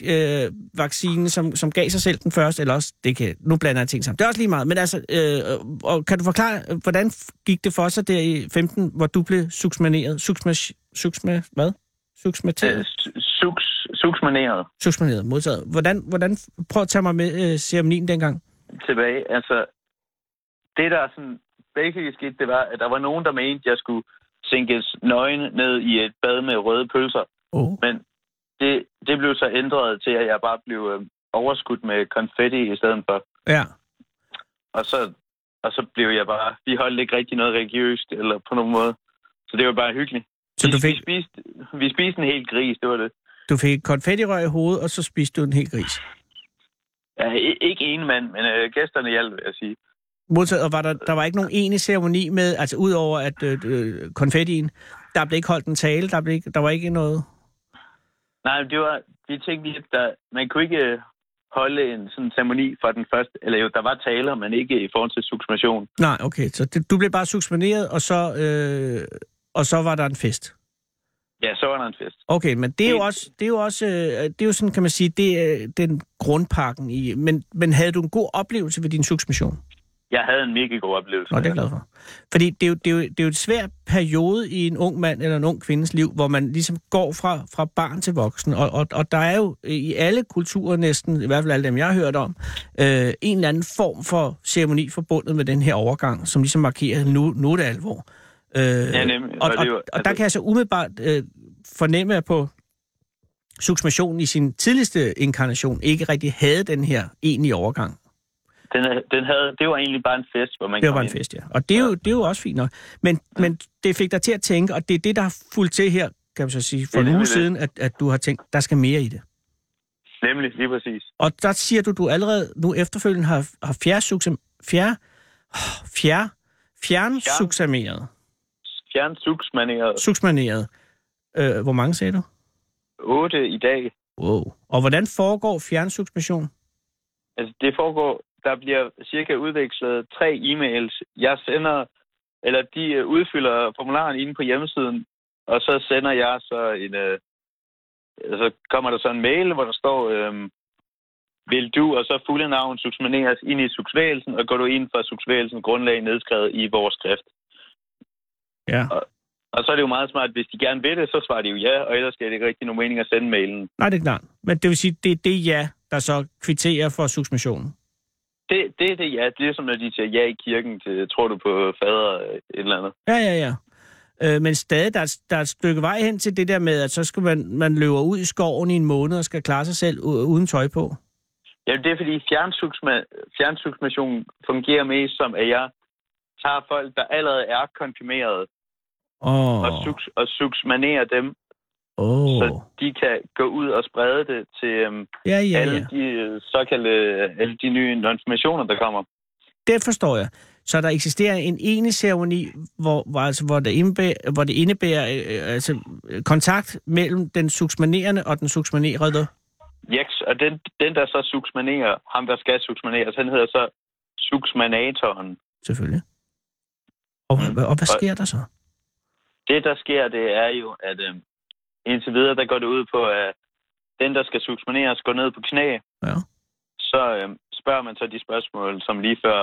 poliovaccinen, øh, som, som gav sig selv den første, eller også, det kan, nu blander jeg ting sammen. Det er også lige meget, men altså, øh, og kan du forklare, øh, hvordan f- gik det for sig der i 15, hvor du blev suksmaneret? Suksma, suksma, hvad?
Øh,
Suksmateret?
suks, suksmaneret
Suksmaneret, modtaget. Hvordan, hvordan, prøv at tage mig med øh, ceremonien dengang.
tilbage. Altså, det der sådan basically skete, det var, at der var nogen, der mente, at jeg skulle sænkes nøgen ned i et bad med røde pølser.
Oh.
Men det, det blev så ændret til, at jeg bare blev øh, overskudt med konfetti i stedet for.
Ja.
Og så, og så blev jeg bare... Vi holdt ikke rigtig noget religiøst, eller på nogen måde. Så det var bare hyggeligt.
Så
vi,
du fik,
vi, spiste, vi spiste en hel gris, det var det.
du fik konfettirøg i hovedet, og så spiste du en hel gris.
Ja, i- ikke en mand, men øh, gæsterne hjalp, vil jeg sige.
Modtaget, og var der, der var ikke nogen enig ceremoni med, altså udover at øh, øh, konfettien, der blev ikke holdt en tale, der, blev ikke, der var ikke noget...
Nej, men det var, vi tænkte lidt, der, man kunne ikke øh, holde en sådan ceremoni for den første, eller jo, der var taler, men ikke i forhold til subsumation.
Nej, okay, så det, du blev bare suspenderet, og så, øh, og så var der en fest.
Ja, så var der en fest.
Okay, men det er jo
Det-
også, det er jo også, øh, det er øh, jo sådan, kan man sige, det er den grundpakken i, men, men havde du en god oplevelse ved din suksmission?
Jeg havde en mega god oplevelse.
Nå, det er jeg glad for. Fordi det er, jo, det, er jo, det er jo et svær periode i en ung mand eller en ung kvindes liv, hvor man ligesom går fra, fra barn til voksen. Og, og, og der er jo i alle kulturer næsten, i hvert fald alle dem, jeg har hørt om, øh, en eller anden form for ceremoni forbundet med den her overgang, som ligesom markerer, nu, nu er det alvor. Øh, ja,
nemlig.
Og,
Og det
og,
er jo- altså-
og, og der kan jeg så umiddelbart øh, fornemme, at på suksmationen i sin tidligste inkarnation ikke rigtig havde den her egentlige overgang.
Den, er- den havde, det var egentlig bare en fest, hvor man
Det var
kom
bare en
ind.
fest, ja. Og det er, jo, det er jo også fint nok. Men, men det fik dig til at tænke, og det er det, der har fulgt til her, kan man så sige, for
Det er
en uge
nemlig det.
siden, at, at du har tænkt, der skal mere i det.
Nemlig, lige præcis.
Og der siger du, du allerede nu efterfølgende har, har fjerdsuksam... Fjerde... åh, Fjerde... Fjernsuksameret.
Fjern suksmandingeret.
Suksmaneret. Øh, hvor mange sagde du?
8 i dag.
Wow. Og hvordan foregår fjernsuksmission?
Altså, det foregår, der bliver cirka udvekslet tre e-mails. Jeg sender, eller de øh, udfylder formularen inde på hjemmesiden, og så sender jeg så en, øh, så kommer der så en mail, hvor der står, øh, vil du, og så fulde navn suksmaneres ind i suksvægelsen, og går du ind for suksvægelsen grundlag nedskrevet i vores skrift.
Ja.
Og så er det jo meget smart, hvis de gerne vil det, så svarer de jo ja, og ellers giver det ikke rigtig nogen mening at sende mailen.
Nej, det er klart. Men det vil sige, det er det ja, der så kvitterer for suksmissionen.
Det, det er det ja. Det er som, når de siger ja i kirken til, tror du på fader, øh, et eller andet.
Ja, ja, ja. Øh, men stadig, der er, der er et stykke vej hen til det der med, at så skal man, man løber ud i skoven i en måned og skal klare sig selv u- uden tøj på.
Jamen, det er fordi fjernsugsma- fjernsugsmationen fungerer mest som, at jeg tager folk, der allerede er konfirmeret,
Åh,
oh. og, suks- og suksmanerer dem, oh.
åh.
så de kan gå ud og sprede det til øhm,
Ja,
ja,
ja,
alle
ja.
de øh, såkaldte, alle de nye konfirmationer, der kommer.
Det forstår jeg. Så der eksisterer en ene ceremoni, hvor, hvor, altså, hvor, det indebærer, hvor det indebærer øh, øh, altså, øh, kontakt mellem den suksmanerende og den suksmanerede.
Jeks, og den, den der så suksmanerer, ham der skal suksmaneres, han hedder så suksmanatoren.
Selvfølgelig. Og,
Mm.
og, og hvad
Og-
sker der så?
det, der sker, det er jo, at øh, indtil videre, der går det ud på, at den, der skal suksmaneres, går ned på knæ.
Ja.
Så øh, spørger man så de spørgsmål, som lige før,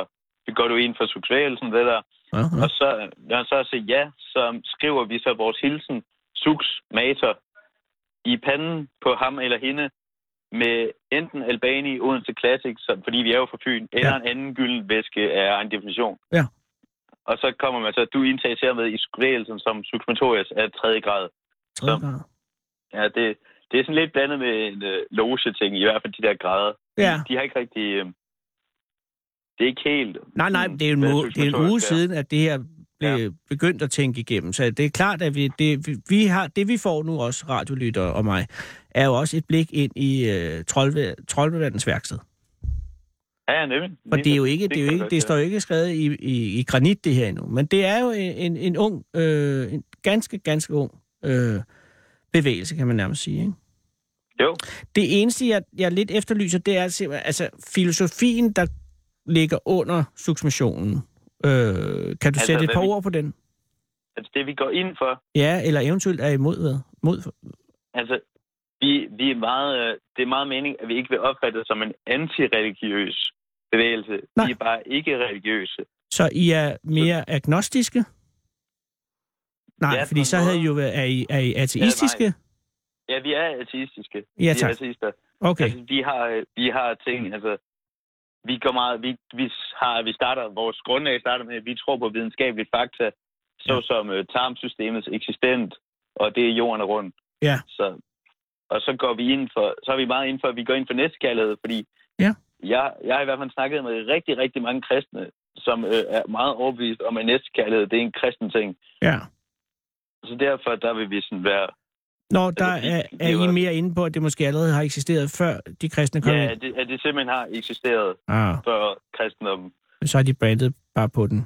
går du ind for suksvægelsen, det der?
Ja, ja.
Og så, øh, når han så siger ja, så skriver vi så vores hilsen, suksmater, i panden på ham eller hende, med enten Albani, Odense Classic, som, fordi vi er jo fra Fyn, eller en anden gylden væske af en definition.
Ja.
Og så kommer man så, du indtages hermed i skvægelsen som suksmatorias af tredje grad.
Tredje grad.
Ja, det, det er sådan lidt blandet med en øh, loge-ting, i hvert fald de der grader.
Ja.
De, de har ikke rigtig... Øh, det er ikke helt...
Nej, nej, det er en,
hvad
må, det er en uge
suksmatorias er.
siden, at det her blev ja. begyndt at tænke igennem. Så det er klart, at vi, det, vi- vi har, det vi får nu også, radiolytter og mig, er jo også et blik ind i øh, troldve- troldmandens værksted.
Ja, ja, nemlig.
Og det, er jo ikke, det, er jo
kan
ikke,
godt
det
være.
står jo ikke skrevet i, i, i granit, det her endnu. Men det er jo en, en ung, øh, en ganske, ganske ung øh, bevægelse, kan man nærmest sige. Ikke?
Jo.
Det eneste, jeg, jeg lidt efterlyser, det er simpelthen, altså filosofien, der ligger under suksmationen. Øh, kan du
Altså,
altså, sætte et
hvad
par
vi-
ord på den?
Altså, det vi går ind for,
Ja, eller eventuelt er imod hvad? Mod,
Altså, vi, vi er meget, øh, det er meget mening, at vi ikke vil opfattes som en antireligiøs bevægelse.
Nej.
Nej. Vi er bare ikke religiøse.
så I er mere agnostiske? Nej,
Ja,
ja,
på
fordi
en
så havde
måde.
I jo været, er I, er I ateistiske? Ja,
Ja, vi er ateistiske.
ja
Vi er
tak.
ateister. Okay.
Okay.
Altså, vi har, øh, vi har ting, altså, vi går meget, vi, vi, har, vi starter, vores grundlag starter med, at vi tror på videnskabelige fakta, såsom øh, tarmsystemets eksistent, og det er jorden er rundt.
Ja.
Så, og så går vi ind for, så er vi meget ind for, at vi går ind for næstekærlighed, fordi
Ja.
jeg, jeg har i hvert fald snakket med rigtig, rigtig mange kristne, som øh, er meget overbevist om, at næstekærlighed, det er en kristen ting.
Ja.
Så derfor, der vil vi sådan være,
Nå, der
vi-
er,
vi
er
lever-
I mere inde på, at det måske allerede har eksisteret før de kristne kom
ja,
ind?
at det, at det simpelthen har eksisteret
Ah,
før kristendommen.
så har de brandet bare på den.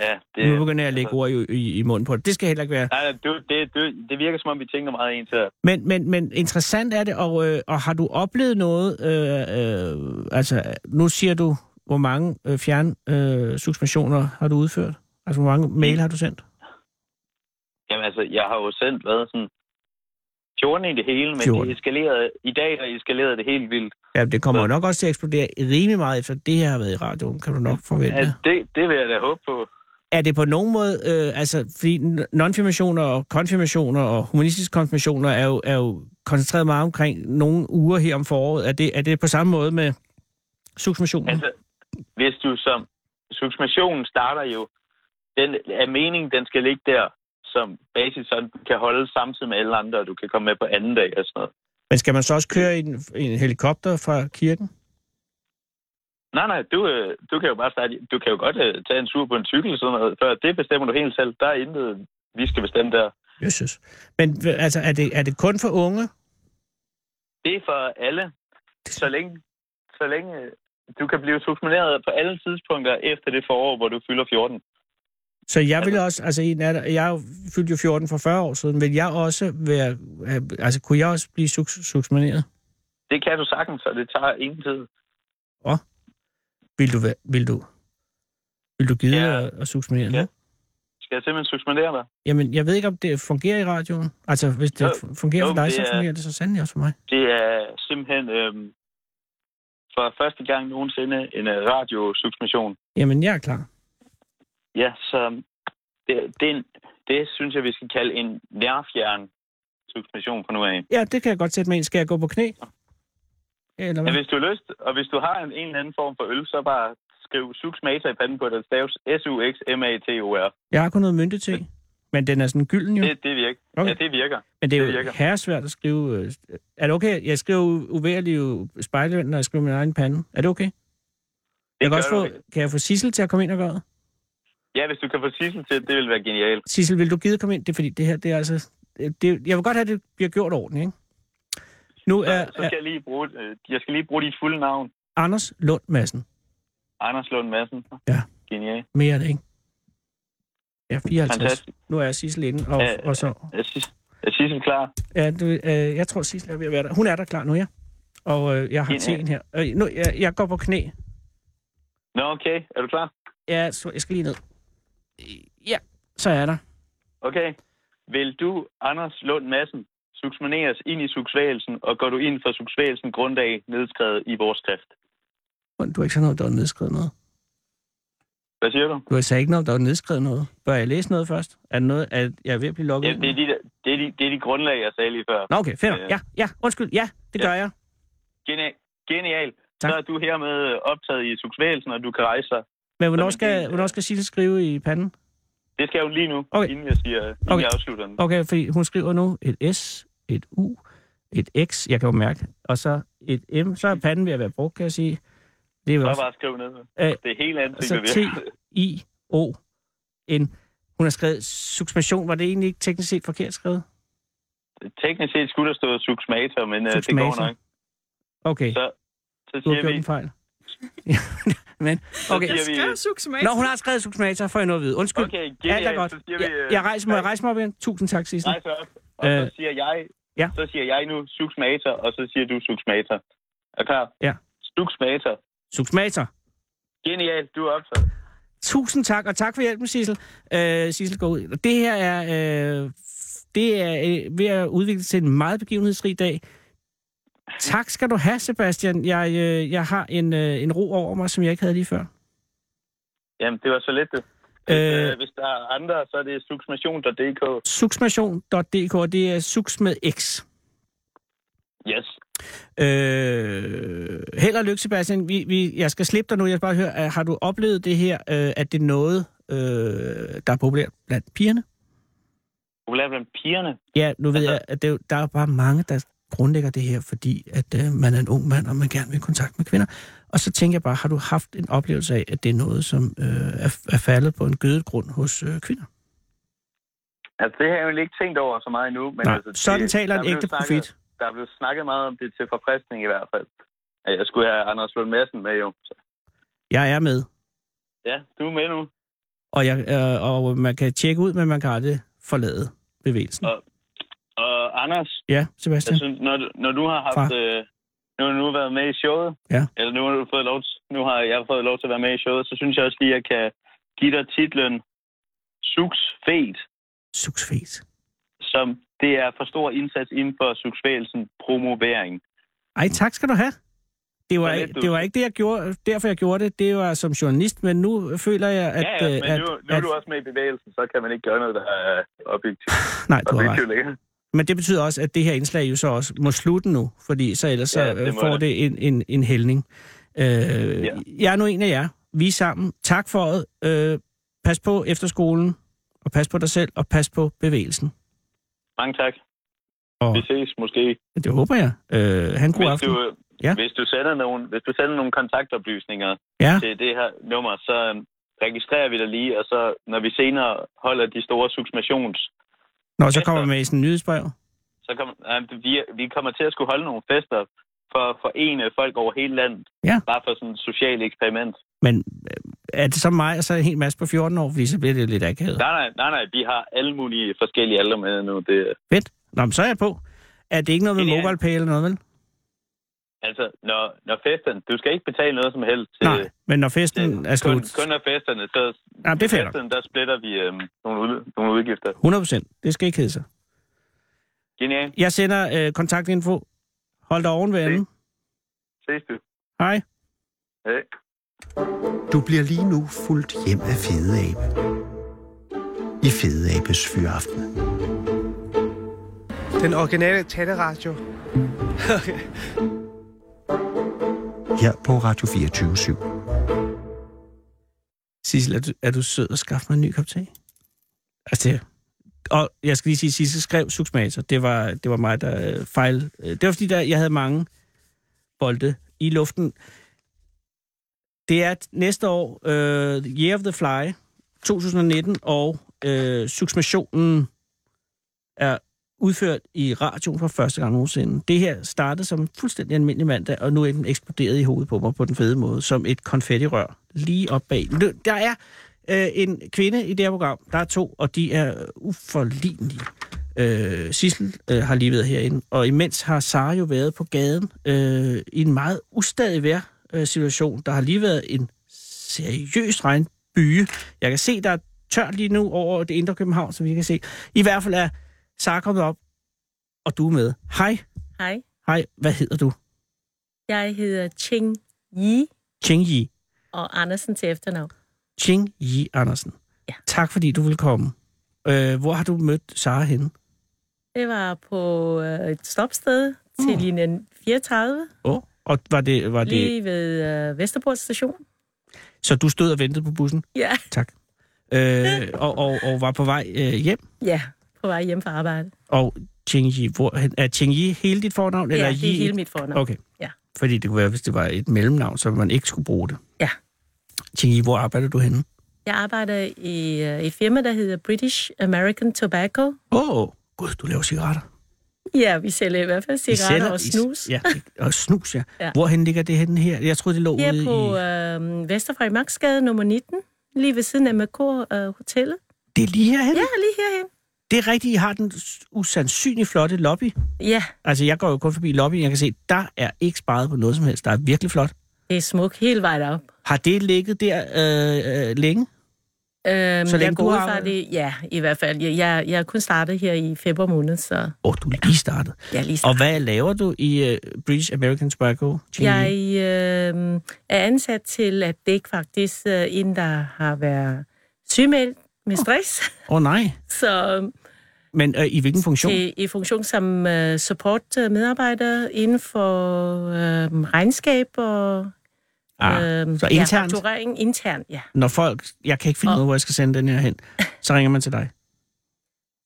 Ja, altså- det,
Nu begynder jeg at lægge ord i, i, i munden på det. Det skal heller ikke være.
Nej, nej, du, det, du, det virker som om, vi tænker meget ens her.
Men, men, men interessant er det, og, øh, og har du oplevet noget, øh, øh, altså nu siger du, hvor mange øh, fjernsuspensioner øh, suspensioner har du udført? Altså hvor mange mail har du sendt?
Jamen altså, jeg har jo sendt, hvad, sådan 14 i det hele, men
14.
14. det eskalerede, i dag har eskaleret det helt vildt.
Ja, det kommer jo nok også til at eksplodere rimelig meget efter det her har været i radioen, kan du nok forvente.
Ja, Altså, det, det vil jeg da håbe på.
Er det på nogen måde, øh, altså, fordi nonfirmationer og konfirmationer og humanistiske konfirmationer er jo, er jo koncentreret meget omkring nogle uger her om foråret. Er det, er det på samme måde med suksmationer? Altså,
Altså, hvis du som... Subsumationen starter jo... Den er meningen, den skal ligge der som basis, så den kan holde samtidig med alle andre, og du kan komme med på anden dag og sådan noget.
Men skal man så også køre i en, i en helikopter fra kirken?
Nej, nej, du, øh, du kan jo bare starte... Du kan jo godt øh, tage en tur på en cykel og sådan noget, før det bestemmer du helt selv. Der er intet, vi skal bestemme der.
Jesus. Men hva- altså, er det, er det kun for unge?
Det er for alle. Så længe, så længe øh, du kan blive subsumineret på alle tidspunkter efter det forår, hvor du fylder 14.
Så jeg vil også, altså i nat, jeg er jo- fyldte jo 14 for 40 år siden, vil jeg også være, have- altså kunne jeg også blive suks- suksmineret?
Det kan du sagtens, og det tager ingen tid.
Vil du, væ- vil du, vil du gide
Ja.
ja. at, at suksminere
Ja.
ja.
Skal jeg simpelthen subsuminere dig?
Jamen, jeg ved ikke, om det fungerer i radioen. Altså, hvis det
Jo,
fu- fungerer
jo,
for dig,
det
så
er-
fungerer det så sandelig også for mig.
Det er simpelthen øhm, for første gang nogensinde en øh, radiosubmission.
Jamen, jeg er klar.
Ja, så det, det, er en, det synes jeg, vi skal kalde en nærfjern submission fra nu af.
Ja, det kan jeg godt sætte mig ind. Skal jeg gå på knæ? Eller hvad?
Men hvis du har lyst, og hvis du har en, en eller anden form for øl, så bare skriv suxmata i panden på dig. Stavs S-U-X-M-A-T-O-R.
Jeg har kun noget myndete men den er sådan gylden jo.
Det, det virker.
Okay.
Ja, det virker.
Men det er
det
jo
virker.
herresvært at skrive... øh, Er det okay? Jeg skriver uværlige spejlvend, når jeg skriver min egen pande. Er det okay? jeg kan,
gør
også få,
du.
kan jeg få Sissel til at komme ind og gøre det?
Ja, hvis du kan få Sissel til, det vil være genialt.
Sissel, vil du gide komme ind? Det er fordi, det her, det er altså... Det, jeg vil godt have, at det bliver gjort ordentligt, ikke? Nu
Så,
er,
så
er
skal jeg lige bruge, øh, jeg skal lige bruge dit fulde navn.
Anders Lund Madsen.
Anders Lund Madsen.
Ja.
Genialt.
Mere er det, ikke? Jeg er 54.
Fantastisk.
Nu er jeg Sissel inde, og,
Ja,
og så...
Er Sis- er Sissel klar?
Ja, du, øh, jeg tror, Sissel er ved at være der. Hun er der klar nu, ja. Og øh, jeg har
Genialt.
teen her. Øh, nu, jeg, jeg går på knæ.
Nå, okay. Er du klar?
Ja, så jeg skal lige ned. Ja, så er jeg der.
Okay. Vil du, Anders Lund Madsen, suksmaneres ind i suksvægelsen, og går du ind for suksvægelsen grundlag nedskrevet i vores skrift?
Men Du har ikke sagt noget, om der var nedskrevet noget.
Hvad siger du?
Du har sagt ikke noget, om der var nedskrevet noget. Bør jeg læse noget først? Er det noget, at jeg er ved at blive lukket
Ja,
ind?
det, er de, der- det, er de, det er de grundlag, jeg sagde lige før.
Nå, okay, fedt.
Ja,
Ja,
ja.
ja, undskyld. Ja, det
Ja.
gør jeg.
Genial. Genial.
Tak.
Så er du hermed optaget i suksvægelsen, og du kan rejse dig.
Men hvornår
Jamen, det,
skal,
øh,
hvornår skal Sille skrive i panden?
Det skal hun lige nu,
Okay.
inden jeg, siger, inden
Okay.
jeg afslutter den.
Okay, fordi hun skriver nu et S, et U, et X, jeg kan jo mærke, og så et M. Så er panden ved at være brugt, kan jeg sige. Det er jo
Så
også
bare skriv ned.
Æ, altså,
Det er helt andet,
så
det vi
T, I, O, N. Hun har skrevet subsumation. Var det egentlig ikke teknisk set forkert skrevet?
[laughs] Teknisk set skulle der stå suksmator, men øh, det går
Suksmator.
nok.
Okay,
Så, så
du har
siger
gjort
vi,
en fejl. Ja, Men, okay.
siger vi-
Skriv suksumats.
Når hun har skrevet subsumator, får jeg noget at vide. Undskyld.
okay,
Alt er
genialt,
godt.
så siger vi...
Jeg,
øh,
jeg rejser mig, rejser mig op igen. Tusind tak, Sissel.
Rejs op, og
Øh,
så siger jeg,
ja.
så siger jeg nu suksmator, og så siger du suksmator. Er du klar?
Ja.
Suksmator.
Subsumator.
Genialt, du er optaget.
Tusind tak, og tak for hjælpen, Sissel. Øh, Sissel går ud. Det her er, øh, det er øh, ved at udvikle sig til en meget begivenhedsrig dag. Tak skal du have, Sebastian. Jeg, øh, jeg har en, øh, en ro over mig, som jeg ikke havde lige før.
Jamen, det var så let, det. Hvis, øh...
Øh.
Øh, hvis der er andre, så er det suksmation.dk.
Suksmation.dk, og det er suks med x.
Yes.
Øh, held og lykke, Sebastian. Vi, vi, jeg skal slippe dig nu. Jeg skal bare høre, øh, har du oplevet det her, øh, at det er noget, øh, der er populært blandt pigerne?
Populært blandt pigerne.
Ja, nu ved
Altså-
jeg, at det, er jo- der er bare mange, der grundlægger det her, fordi at øh, man er en ung mand, og man gerne vil i kontakt med kvinder. Og så tænker jeg bare, har du haft en oplevelse af, at det er noget, som øh, er, er faldet på en gødet grund hos øh, kvinder?
Altså, det har jeg jo ikke tænkt over så meget endnu. Men
Nej,
altså, det,
sådan taler
der
en
blev
ægte
snakket-
profet.
Der blev snakket meget om det til forfriskning i hvert fald. At Jeg skulle have Anders Lund Madsen med, jo. Så,
Jeg er med,
ja, du er med nu.
og, jeg, øh, og man kan tjekke ud, men man kan aldrig forlade bevægelsen.
Og- Og Anders,
Ja,
Jeg
Sebastian?
synes, når, du- når du har haft... Øh, nu har du nu været med i showet,
Ja.
eller nu har, du fået lov, til- nu har jeg fået lov til at være med i showet, så synes jeg også lige, at jeg kan give dig titlen Suks Fed,
Suksfæs.
som det er for stor indsats inden for suksvægelsen promovering.
Ej, tak skal du have. Det var,
Hvad
ikke-
mente du?
det var ikke det, jeg gjorde, derfor jeg gjorde det. Det var som journalist, men nu føler jeg, at...
ja, ja, men
øh, at,
nu, nu er
at,
du også med i bevægelsen, så kan man ikke gøre noget, der er objektivt,
Nej, du har ret.
objektivt længere.
Men det betyder også, at det her indslag jo så også må slutte nu, fordi så ellers
Ja,
ja,
det
det
må
får
det.
det en, en, en hældning. Øh, ja. Jeg er nu en af jer. Vi er sammen. Tak for det. Øh, pas på efterskolen, og pas på dig selv, og pas på bevægelsen.
Mange tak.
Og
Vi ses måske.
det håber jeg. Øh, han god
Hvis
aften.
du,
Ja.
ja. hvis, du sender nogle, hvis du sender nogle kontaktoplysninger
Ja.
til det her nummer, så øhm, registrerer vi dig lige, og så når vi senere holder de store suksmations,
Nå, så kommer vi med i sådan en nyhedsbrev.
så kommer, øh, vi, vi kommer til at skulle holde nogle fester for at forene folk over hele landet.
Ja.
Bare for sådan et socialt eksperiment.
Men øh, er det så mig, og så en hel masse på 14 år, fordi så bliver det lidt akavet.
Nej, nej, nej, nej. Vi har alle mulige forskellige aldre med nu. Det, er-
Fedt. Nå, men så er jeg på. Er det ikke noget med
Det er-
MobilePay eller noget, vel?
altså, når, når festen... Du skal ikke betale noget som helst til...
Nej, Mm, altså, men når festen
til
er
Øh, kun,
slut...
kun af festerne, så
Ja, det er fair nok.
festen, der splitter vi øhm, nogle, ud, nogle udgifter.
100 procent. Det skal ikke hedde sig.
Genial.
Jeg sender øh, kontaktinfo. Hold dig oven ved enden.
Ses du.
Hej.
Hej.
Du bliver lige nu fuldt hjem af Fede Abe. I Fede Abes Fyraften.
Den originale taleradio.
Her på Radio 24 /7.
Sissel, er du, er du sød at skaffe mig en ny kop te? Altså, det, og jeg skal lige sige, Sissel skrev suksmater. Det var, det var mig, der øh, fejl. øh, Det var fordi, der, jeg havde mange bolde i luften. Det er t- næste år, øh, Year of the Fly, 2019, og øh, suksmationen er udført i radioen for første gang nogensinde. Det her startede som en fuldstændig almindelig mandag, og nu er den eksploderet i hovedet på mig på den fede måde, som et konfettirør lige op bag. Lø- Der er øh, en kvinde i det her program, der er to, og de er uforlignelige. Øh, Sissel øh, har lige været herinde, og imens har Sara jo været på gaden øh, i en meget ustadig vejr øh, situation. Der har lige været en seriøs regnbyge. Jeg kan se, der er tørt lige nu over det indre København, som vi kan se. I hvert fald er Sara kommet op, og du er med. Hej,
Hej,
hej, hvad hedder du?
jeg hedder Ching Yi
Ching Yi.
og Andersen til efternavn.
Ching Yi Andersen.
Ja.
Tak fordi du vil komme. Øh, hvor har du mødt Sara henne?
Det var på øh, et stopsted til mm. linje 34,
Oh. Og var det, var det...
lige ved øh, Vesterport station.
Så du stod og ventede på bussen?
Ja,
Tak. Øh, og, og, og var på vej øh, hjem?
ja på vej hjem fra arbejde.
Og Ching Yi, hvor, er Ching Yi hele dit fornavn? eller
ja, det er
Yi?
hele mit fornavn.
Okay.
Ja.
Fordi det kunne være, hvis det var et mellemnavn, så man ikke skulle bruge det.
Ja.
Ching Yi, hvor arbejder du henne?
Jeg arbejder i øh, et firma, der hedder British American Tobacco.
Åh, oh, gud, du laver cigaretter.
Ja, vi sælger i hvert fald
I
cigaretter
sælger-
og
I-
snus.
Ja, og snus, ja. ja.
Ja.
Hvorhen ligger det henne her? Jeg troede, det lå
Her
ude
på
i...
øh, Vesterfra Magtsgade nummer 19, lige ved siden af MK øh, Hotellet.
Det er lige herhen.
Ja, lige herhen.
Det er rigtigt, I har den s- usandsynlig flotte lobby.
Ja,
Altså, jeg går jo kun forbi lobbyen, jeg kan se, der er ikke sparet på noget som helst. Der er virkelig flot.
det er smukt hele vejen op.
Har det ligget der øh, øh, længe?
Øhm,
Så længe
jeg går
du
ud
har-
fra det, ja, i hvert fald. Jeg, jeg, jeg er kun startet her i februar måned, så
Åh, oh, du er lige startet.
jeg er lige
Og
startet.
hvad laver du i uh, British American Tobacco? Chili?
Jeg øhm, er ansat til at dække faktisk øh, en, der har været sygemeldt med stress, [laughs]
Åh oh, nej,
så øhm,
men uh, i hvilken funktion?
i, i funktion som øh, support-medarbejder inden for øhm, regnskab og
Ah,
øhm,
så
Ja,
internt?
fakturering internt, ja.
Når folk, jeg kan ikke finde ud
Og-
af, hvor jeg skal sende den her hen, så ringer man til dig.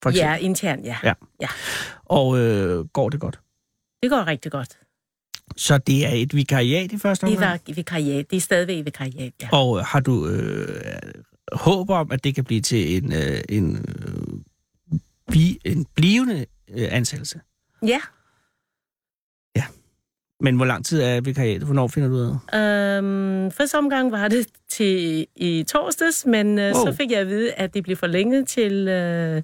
For
Ja,
eksempel.
internt, ja.
Ja.
ja.
Og øh, går det godt?
Det går rigtig godt.
Så det er et vikariat i første
Det
omgang?
var vikariat. Det er stadigvæk vikariat, ja.
Og øh, har du øh, håb om, at det kan blive til en, øh, en, øh, bi, en blivende øh, ansættelse?
Ja.
Men hvor lang tid er vikariatet? Hvornår finder du ud af? det?
Øhm, første omgang var det til i torsdags, men øh,
Wow.
så fik jeg at vide, at det blev forlænget til øh,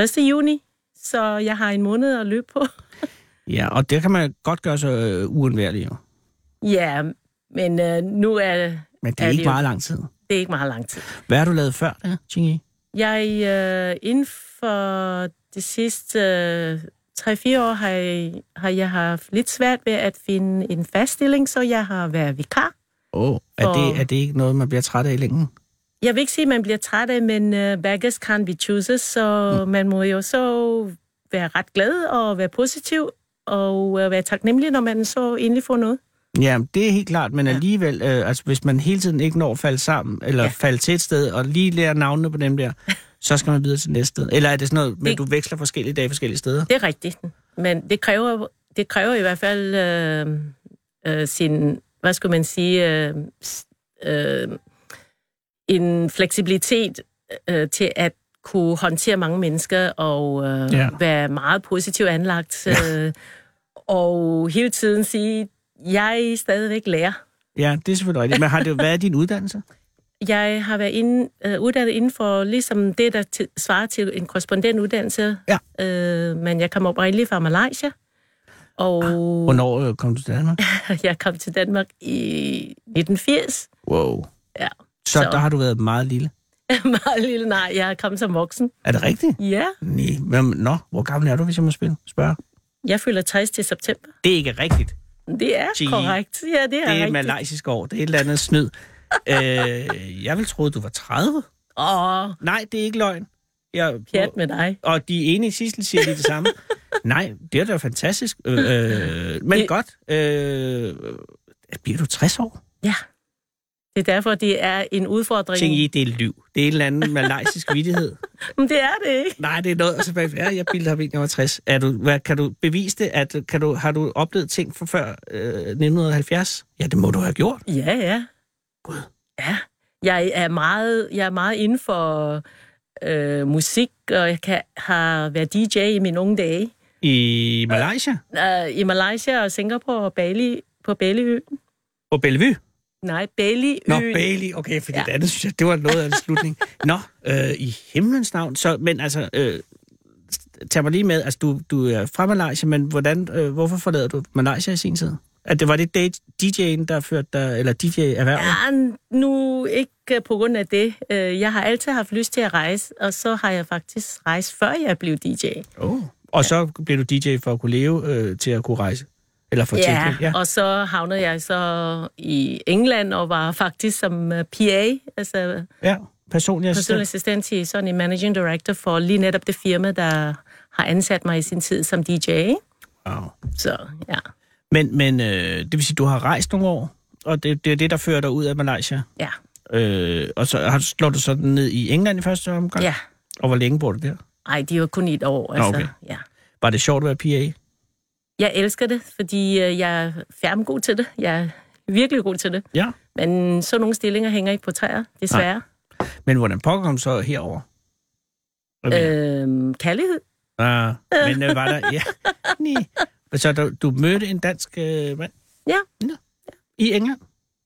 1. juni. Så jeg har en måned at løbe på. [laughs]
Ja, og det kan man godt gøre sig øh, uundværlig. Jo.
ja, men øh,
Men
nu er
det er
Ja,
ja, ikke
det er jo-
meget lang tid.
det er ikke meget lang tid.
Hvad har du lavet før, ja, Chingy?
Jeg øh, inden for det sidste øh, 3-4 år har jeg, har jeg haft lidt svært ved at finde en fast stilling, så jeg har været vikar.
Åh, oh, er, det,
For-
er det ikke noget, man bliver træt af i længden?
Jeg vil ikke sige, at man bliver træt af, men uh, beggars can't be choosers, så mm. man må jo så være ret glad og være positiv og uh, være taknemmelig, når man så endelig får noget.
Ja, det er helt klart, men alligevel, øh, altså, hvis man hele tiden ikke når at falde sammen, eller ja.
Ja.
falde til et sted, og lige lærer navnene på dem [laughs] der, så skal man videre til næste sted. Eller er det sådan noget, men
Det-
du veksler forskellige dage forskellige steder?
Det er rigtigt, men det kræver, det kræver i hvert fald øh, øh, sin, hvad skulle man sige, øh, s- øh, en fleksibilitet øh, til at kunne håndtere mange mennesker og øh,
Ja.
ja. være meget positivt anlagt øh, og hele tiden sige, jeg er stadigvæk lærer.
Ja, det er selvfølgelig rigtigt. Men har det været din uddannelse?
Jeg har været inde, øh, uddannet inden for ligesom det, der til, svarer til en korrespondentuddannelse. Ja. Øh, men jeg kom oprindeligt fra Malaysia, og
Hvornår øh, kom du til Danmark?
[laughs] jeg kom til Danmark i 1980.
Wow.
Ja,
Så,
Så-
der har du været meget lille.
[laughs] meget lille nej, jeg kom som voksen.
Er det rigtigt?
Ja,
Nej. Hvem, nå, hvor gammel er du, hvis jeg må spille? spørge?
jeg fylder 60 til september.
Det er ikke rigtigt.
Det er
Gee.
korrekt. Ja, det er,
Det er et
rigtigt.
malaysisk år. Det er et eller andet snyd. øh, jeg vil tro, du var 30.
Åh,
Nej, det er ikke løgn. Jeg,
pjat med dig.
og de er enige, Sissel siger de det samme. Nej, det er da fantastisk. Øh, øh, men det...
Det-
godt. Øh, bliver du 60 år?
Ja, det er derfor, det er en udfordring.
Tænk I, det er liv. Det er en eller anden malaysisk vidighed.
Men det er det ikke.
Nej, det er noget, og så bagefter, ja, jeg bildte ham ind, jeg var 60. Er du, hvad, kan du bevise det? At, kan du, har du oplevet ting fra før øh, 1970? Ja, det må du have gjort.
Ja, ja. God. Ja. Jeg er meget, jeg er meget inden for øh, musik, og jeg kan, har været DJ i mine unge dage.
I Malaysia?
Øh, I Malaysia og Singapore og Bali, på Baliø.
På Bellevue?
Nej, Bali.
Nå, Bailey, okay, for ja.
Ja.
det andet, synes jeg, det var noget af en slutning. Nå, øh, i himlens navn, så, men altså, øh, tag mig lige med, altså, du, du er fra Malaysia, men hvordan, øh, hvorfor forlader du Malaysia i sin tid? At det var det date- DJ'en, der førte dig, eller DJ-erhvervet? Ja.
Ja, nu ikke øh, på grund af det. Øh, Jeg har altid haft lyst til at rejse, og så har jeg faktisk rejst, før jeg blev DJ.
Oh. Og så blev du DJ for at kunne leve, øh, til at kunne rejse? Eller for
Ja,
tilknytning,
ja, og så havnede jeg så i England og var faktisk som øh, PA, altså
Ja, personlig
personlig
assistent.
assistent til sådan en managing director for lige netop det firma, der har ansat mig i sin tid som DJ. ikke?
Wow.
Så ja,
Men, men øh, det vil sige, du har rejst nogle år, og det, det er det, der fører dig ud af Malaysia.
ja,
Øh, og så har, slår du sådan ned i England i første omgang?
ja.
Og hvor længe bor du der?
Ej, det var kun et år, altså.
okay.
Ja.
Var det sjovt at være PA?
Jeg elsker det, fordi øh, jeg er færdig god til det. Jeg er virkelig god til det.
Ja.
Men så nogle stillinger hænger ikke på træer, desværre.
Men hvordan pågår kom du så herover? Øh.
Øhm, kærlighed?
Uh, men øh, var [laughs] der... Ja. Nee. Så du, du mødte en dansk øh, mand?
Ja.
Nå. I England?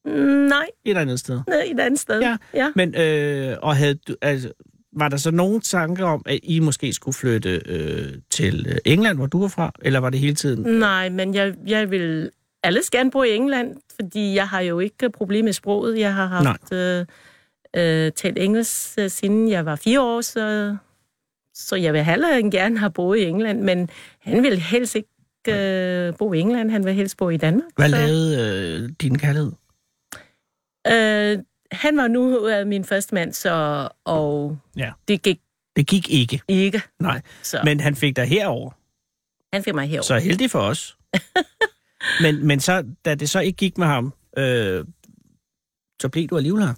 Mm, Nej,
Et eller andet sted?
nej, et andet sted.
Ja.
ja.
Men, øh, og havde du, altså, var der så nogen tanker om, at I måske skulle flytte øh, til øh, England, hvor du var fra? Eller var det hele tiden?
Nej, men jeg, jeg vil alles gerne bo i England, fordi jeg har jo ikke problemer med sproget. Jeg har haft øh, øh, talt engelsk, øh, siden jeg var fire år, så, så jeg vil heller end gerne have boet i England. Men han vil helst ikke øh, bo i England, han vil helst bo i Danmark.
Hvad
så,
lavede øh, din kærlighed?
øh, han var nu øh, min første mand, så, og
Ja.
det gik
Det gik ikke,
ikke.
nej.
Så men,
Men han fik dig herover.
han fik mig herover.
Så heldig for
[laughs]
os. men, men så, da det så ikke gik med ham, øh, så blev du alligevel her.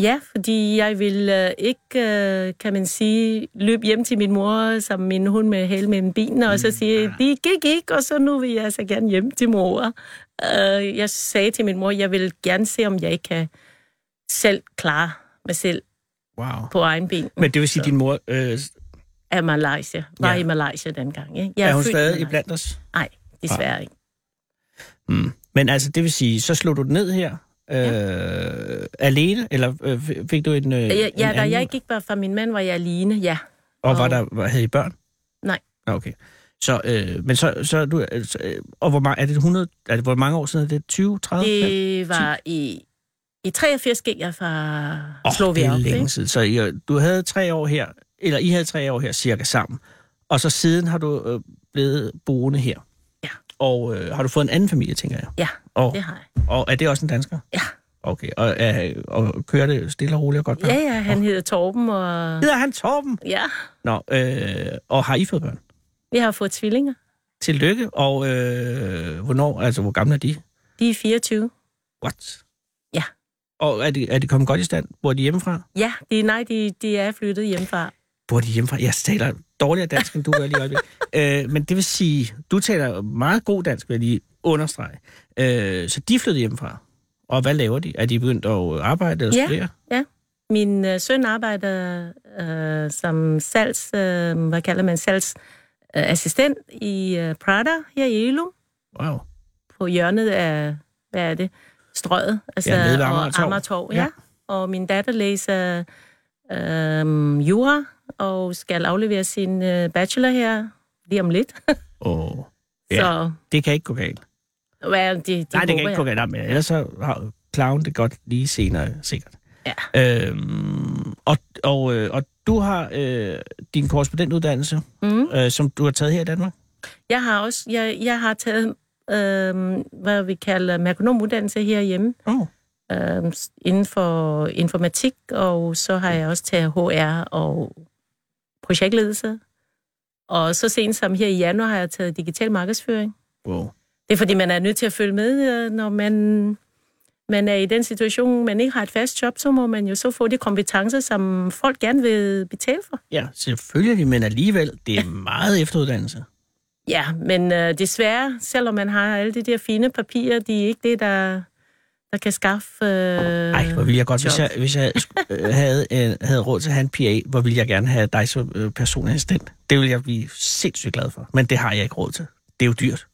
Ja, fordi jeg vil øh, ikke, øh, kan man sige, løbe hjem til min mor, som min hund med hæl mellem benene,
Mm,
og så sige, det gik ikke, og så nu vil jeg så gerne hjem til mor. Øh, jeg sagde til min mor, jeg vil gerne se, om jeg ikke kan selv klare mig selv
Wow.
på egen ben
Men det vil sige, at din mor, øh,
af Malaysia. Var
Ja.
ja. i Malaysia dengang. Ikke? Jeg
er hun
født i
stadig
Malaysia.
iblandt Ah, os?
Nej, desværre ikke.
Mm. Men altså, det vil sige, så slog du den ned her øh, alene, eller øh, f- fik du en, øh,
Jeg,
en
ja, da
anden-
jeg gik bare fra min mand, var jeg alene, ja.
Og var der, var- havde I børn?
Nej.
Nå, Okay. Så, øh, men så, så er du, øh, så, øh, og hvor mange, er det 100, er det, hvor mange år siden er det? 20, 30?
Det var i... I 83 gik jeg fra
Åh,
oh,
det
Slovenia
er
op.
længe
ikke?
siden. Så I, du havde tre år her, eller I havde tre år her cirka sammen, og så siden har du øh, blevet boende her.
Ja.
Og øh, har du fået en anden familie, tænker jeg?
Ja,
Og,
det har jeg.
og er det også en dansker?
Ja.
Okay, og, er, og kører det stille og roligt og godt? på?
Ja, ja, han hedder Torben, og
Hedder han Torben?
ja,
Nå, øh, og har I fået børn?
vi har fået tvillinger.
Tillykke, og øh, hvornår, altså hvor gamle er de?
De er 24.
What?
Ja.
Og er de, er de kommet godt i stand? Bor de hjemmefra?
Ja, de, nej, de, de er flyttet hjemmefra.
Bor de hjemmefra? Jeg taler dårligere dansk, end du gør lige i øjeblikket. øh, men det vil sige, du taler meget god dansk, vil jeg lige understrege. Øh, så de flyttede hjemmefra. Og hvad laver de? Er de begyndt at arbejde eller
Ja.
studere?
Min øh, søn arbejder øh, som salgs, øh, hvad kalder man, salgsassistent øh, assistent i øh, Prada her i Elo,
Wow.
på hjørnet af, hvad er det, strøget, altså
Ja, nede ved Amager
og
Torv.
Amagertorv, ja.
Ja.
ja. Og min datter læser øh, jura og skal aflevere sin øh, bachelor her lige om lidt.
Oh. Ja.
Ja. [laughs] Så
Det kan ikke gå galt.
hvad, de, de
Nej, det kan
håber
ikke
jeg.
gå galt. Nej, Men ellers så har Clown det godt lige senere, sikkert.
Ja.
Øhm, og, og, øh, og du har øh, din korrespondentuddannelse,
Mhm.
øh, som du har taget her i Danmark.
Jeg har også, jeg, jeg har taget, øh, hvad vi kalder merkonomuddannelse herhjemme,
Oh.
øh, inden for informatik, og så har jeg også taget HR og projektledelse. Og så sent som her i januar har jeg taget digital markedsføring.
Wow.
Det er fordi, man er nødt til at følge med, øh, når man, man er i den situation, man ikke har et fast job, så må man jo så få de kompetencer, som folk gerne vil betale for.
Ja, selvfølgelig, men alligevel, det er meget efteruddannelse.
Ja, men øh, desværre, selvom man har alle de der fine papirer, de er ikke det, der, der kan skaffe... Øh,
Nej, hvor ville jeg godt, hvis
job.
jeg, hvis jeg sk- øh, havde, øh, havde råd til at have en PA, hvor ville jeg gerne have dig som øh, personassistent. Det ville jeg blive sindssygt glad for, men det har jeg ikke råd til. Det er jo dyrt.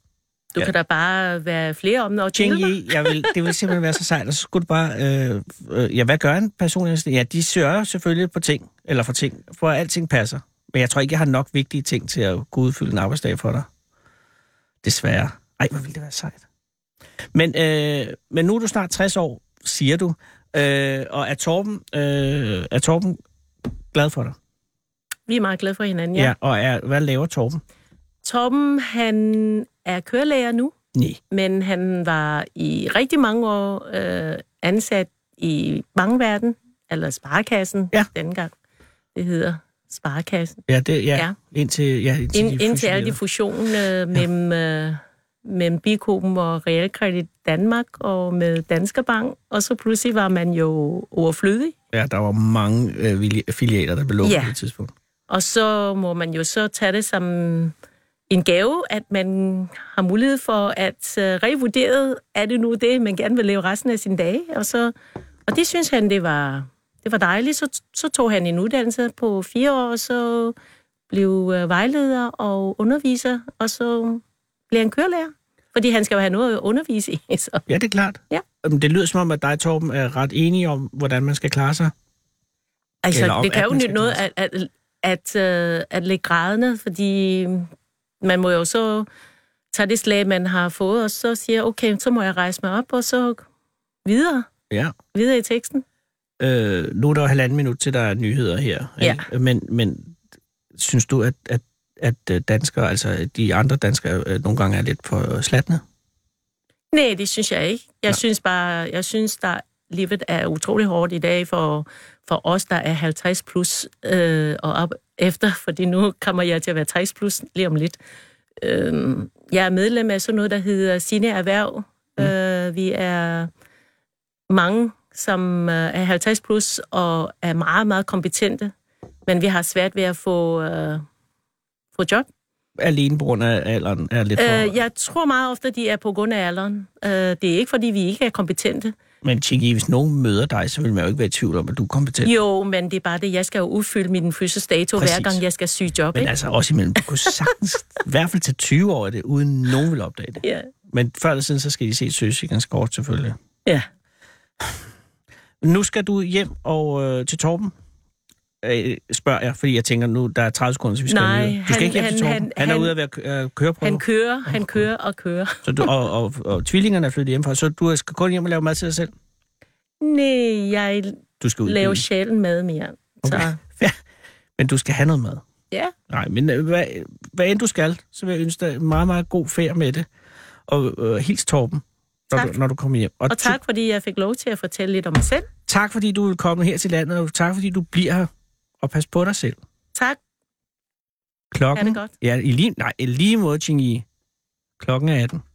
Ja.
Du ja. kan da bare være flere om det og
Ching
tjene mig.
Yi, jeg vil, det vil simpelthen være så sejt, og så skulle du bare... Øh, øh, ja, hvad gør en personassistent? Ja, de sørger selvfølgelig på ting, eller for ting, for at alting passer. Men jeg tror ikke, jeg har nok vigtige ting til at kunne udfylde en arbejdsdag for dig. Desværre. Ej, hvor ville det være sejt. Men, øh, men nu er du snart 60 år, siger du, øh, og er Torben, øh, er Torben glad for dig?
Vi er meget glade for hinanden, ja. ja.
og er, hvad laver Torben?
Torben, han er kørelærer nu,
Nej.
men han var i rigtig mange år øh, ansat i bankverden, eller sparekassen
Ja.
dengang. Det hedder sparekassen.
Ja, det, ja, ja.
Ja.
indtil, ja, indtil,
Ind,
de
indtil alle de
fusionerede.
fusioner øh, mellem, øh, mellem Bikoben og Realkredit Danmark og med Danske Bank, og så pludselig var man jo overflødig.
Ja, der var mange øh, vilje- filialer, der blev lukket
Ja.
på det tidspunkt.
Og så må man jo så tage det som en gave, at man har mulighed for at øh, revurdere, er det nu det, man gerne vil leve resten af sin dag? Og, så, og det synes han, det var, det var dejligt. Så, så tog han en uddannelse på fire år, og så blev øh, vejleder og underviser, og så blev han kørelærer. Fordi han skal jo have noget at undervise i. [laughs] Så.
Ja, det er klart.
Ja.
Jamen, Det lyder som om, at dig, Torben, er ret enige om, hvordan man skal klare sig.
Altså,
Eller om,
det kan
at
jo
man skal
nytte noget at, at, at, øh, at lægge grædende, fordi man må jo så tage det slag, man har fået, og så siger, okay, så må jeg rejse mig op, og så videre,
Ja.
videre i teksten.
Øh, nu er der jo halvanden minut til, der er nyheder her. ikke? Men, men synes du, at, at, at øh, danskere, altså de andre danskere, øh, nogle gange er lidt for slatne?
Nej, det synes jeg ikke. Jeg synes bare, jeg synes, der livet er utrolig hårdt i dag for, for os, der er 50 plus øh, og op efter, fordi nu kommer jeg til at være 60 plus lige om lidt. Øh, jeg er medlem af sådan noget, der hedder Sine Erhverv. Mm. Øh, vi er mange, som øh, er 50 plus og er meget, meget kompetente, men vi har svært ved at få, øh, få job.
Alene på grund af alderen er lidt for...
Øh, jeg tror meget ofte, de er på grund af alderen. Øh, det er ikke, fordi vi ikke er kompetente.
Men Tjekki, hvis nogen møder dig, så vil man jo ikke være i tvivl om, at du er kompetent.
Jo, men det er bare det, jeg skal jo udfylde min fødselsdato,
Præcis.
hver gang jeg skal syge job.
Men
Ikke?
altså også imellem, du kunne sagtens, i hvert fald til 20 år er det, uden nogen vil opdage det.
Ja.
Men før eller siden, så skal de se søsikkerens kort selvfølgelig.
ja.
Nu skal du hjem og øh, til Torben, øh, spørger jeg, fordi jeg tænker nu, der er 30 sekunder, så vi skal
Nej,
have nyheder. Du skal
han-
ikke hjem til Torben.
han-
Han,
han-
han er
han-
ude at være kø- øh, køreprøve,
Han kører, han kører og kører.
så du, og, og, og tvillingerne er flyttet hjemmefra, så du skal kun hjem og lave mad til dig selv.
Nej, jeg
Du skal ud i
laver
byen.
sjælen mad mere. Så
Okay. Men du skal have noget mad.
Ja.
Nej, men øh, hvad, hvad end du skal, så vil jeg ønske dig en meget, meget god færd med det. Og øh, hils Torben, når
Tak.
du, når du kommer hjem.
Og
tu-
tak, fordi jeg fik lov til at fortælle lidt om mig selv.
tak, fordi du er kommet her til landet, og tak, fordi du bliver her. Og pas på dig selv.
Tak.
Klokken...
Ha' det godt.
Ja, i lige, nej, i lige måde, Chingy. Klokken er 18.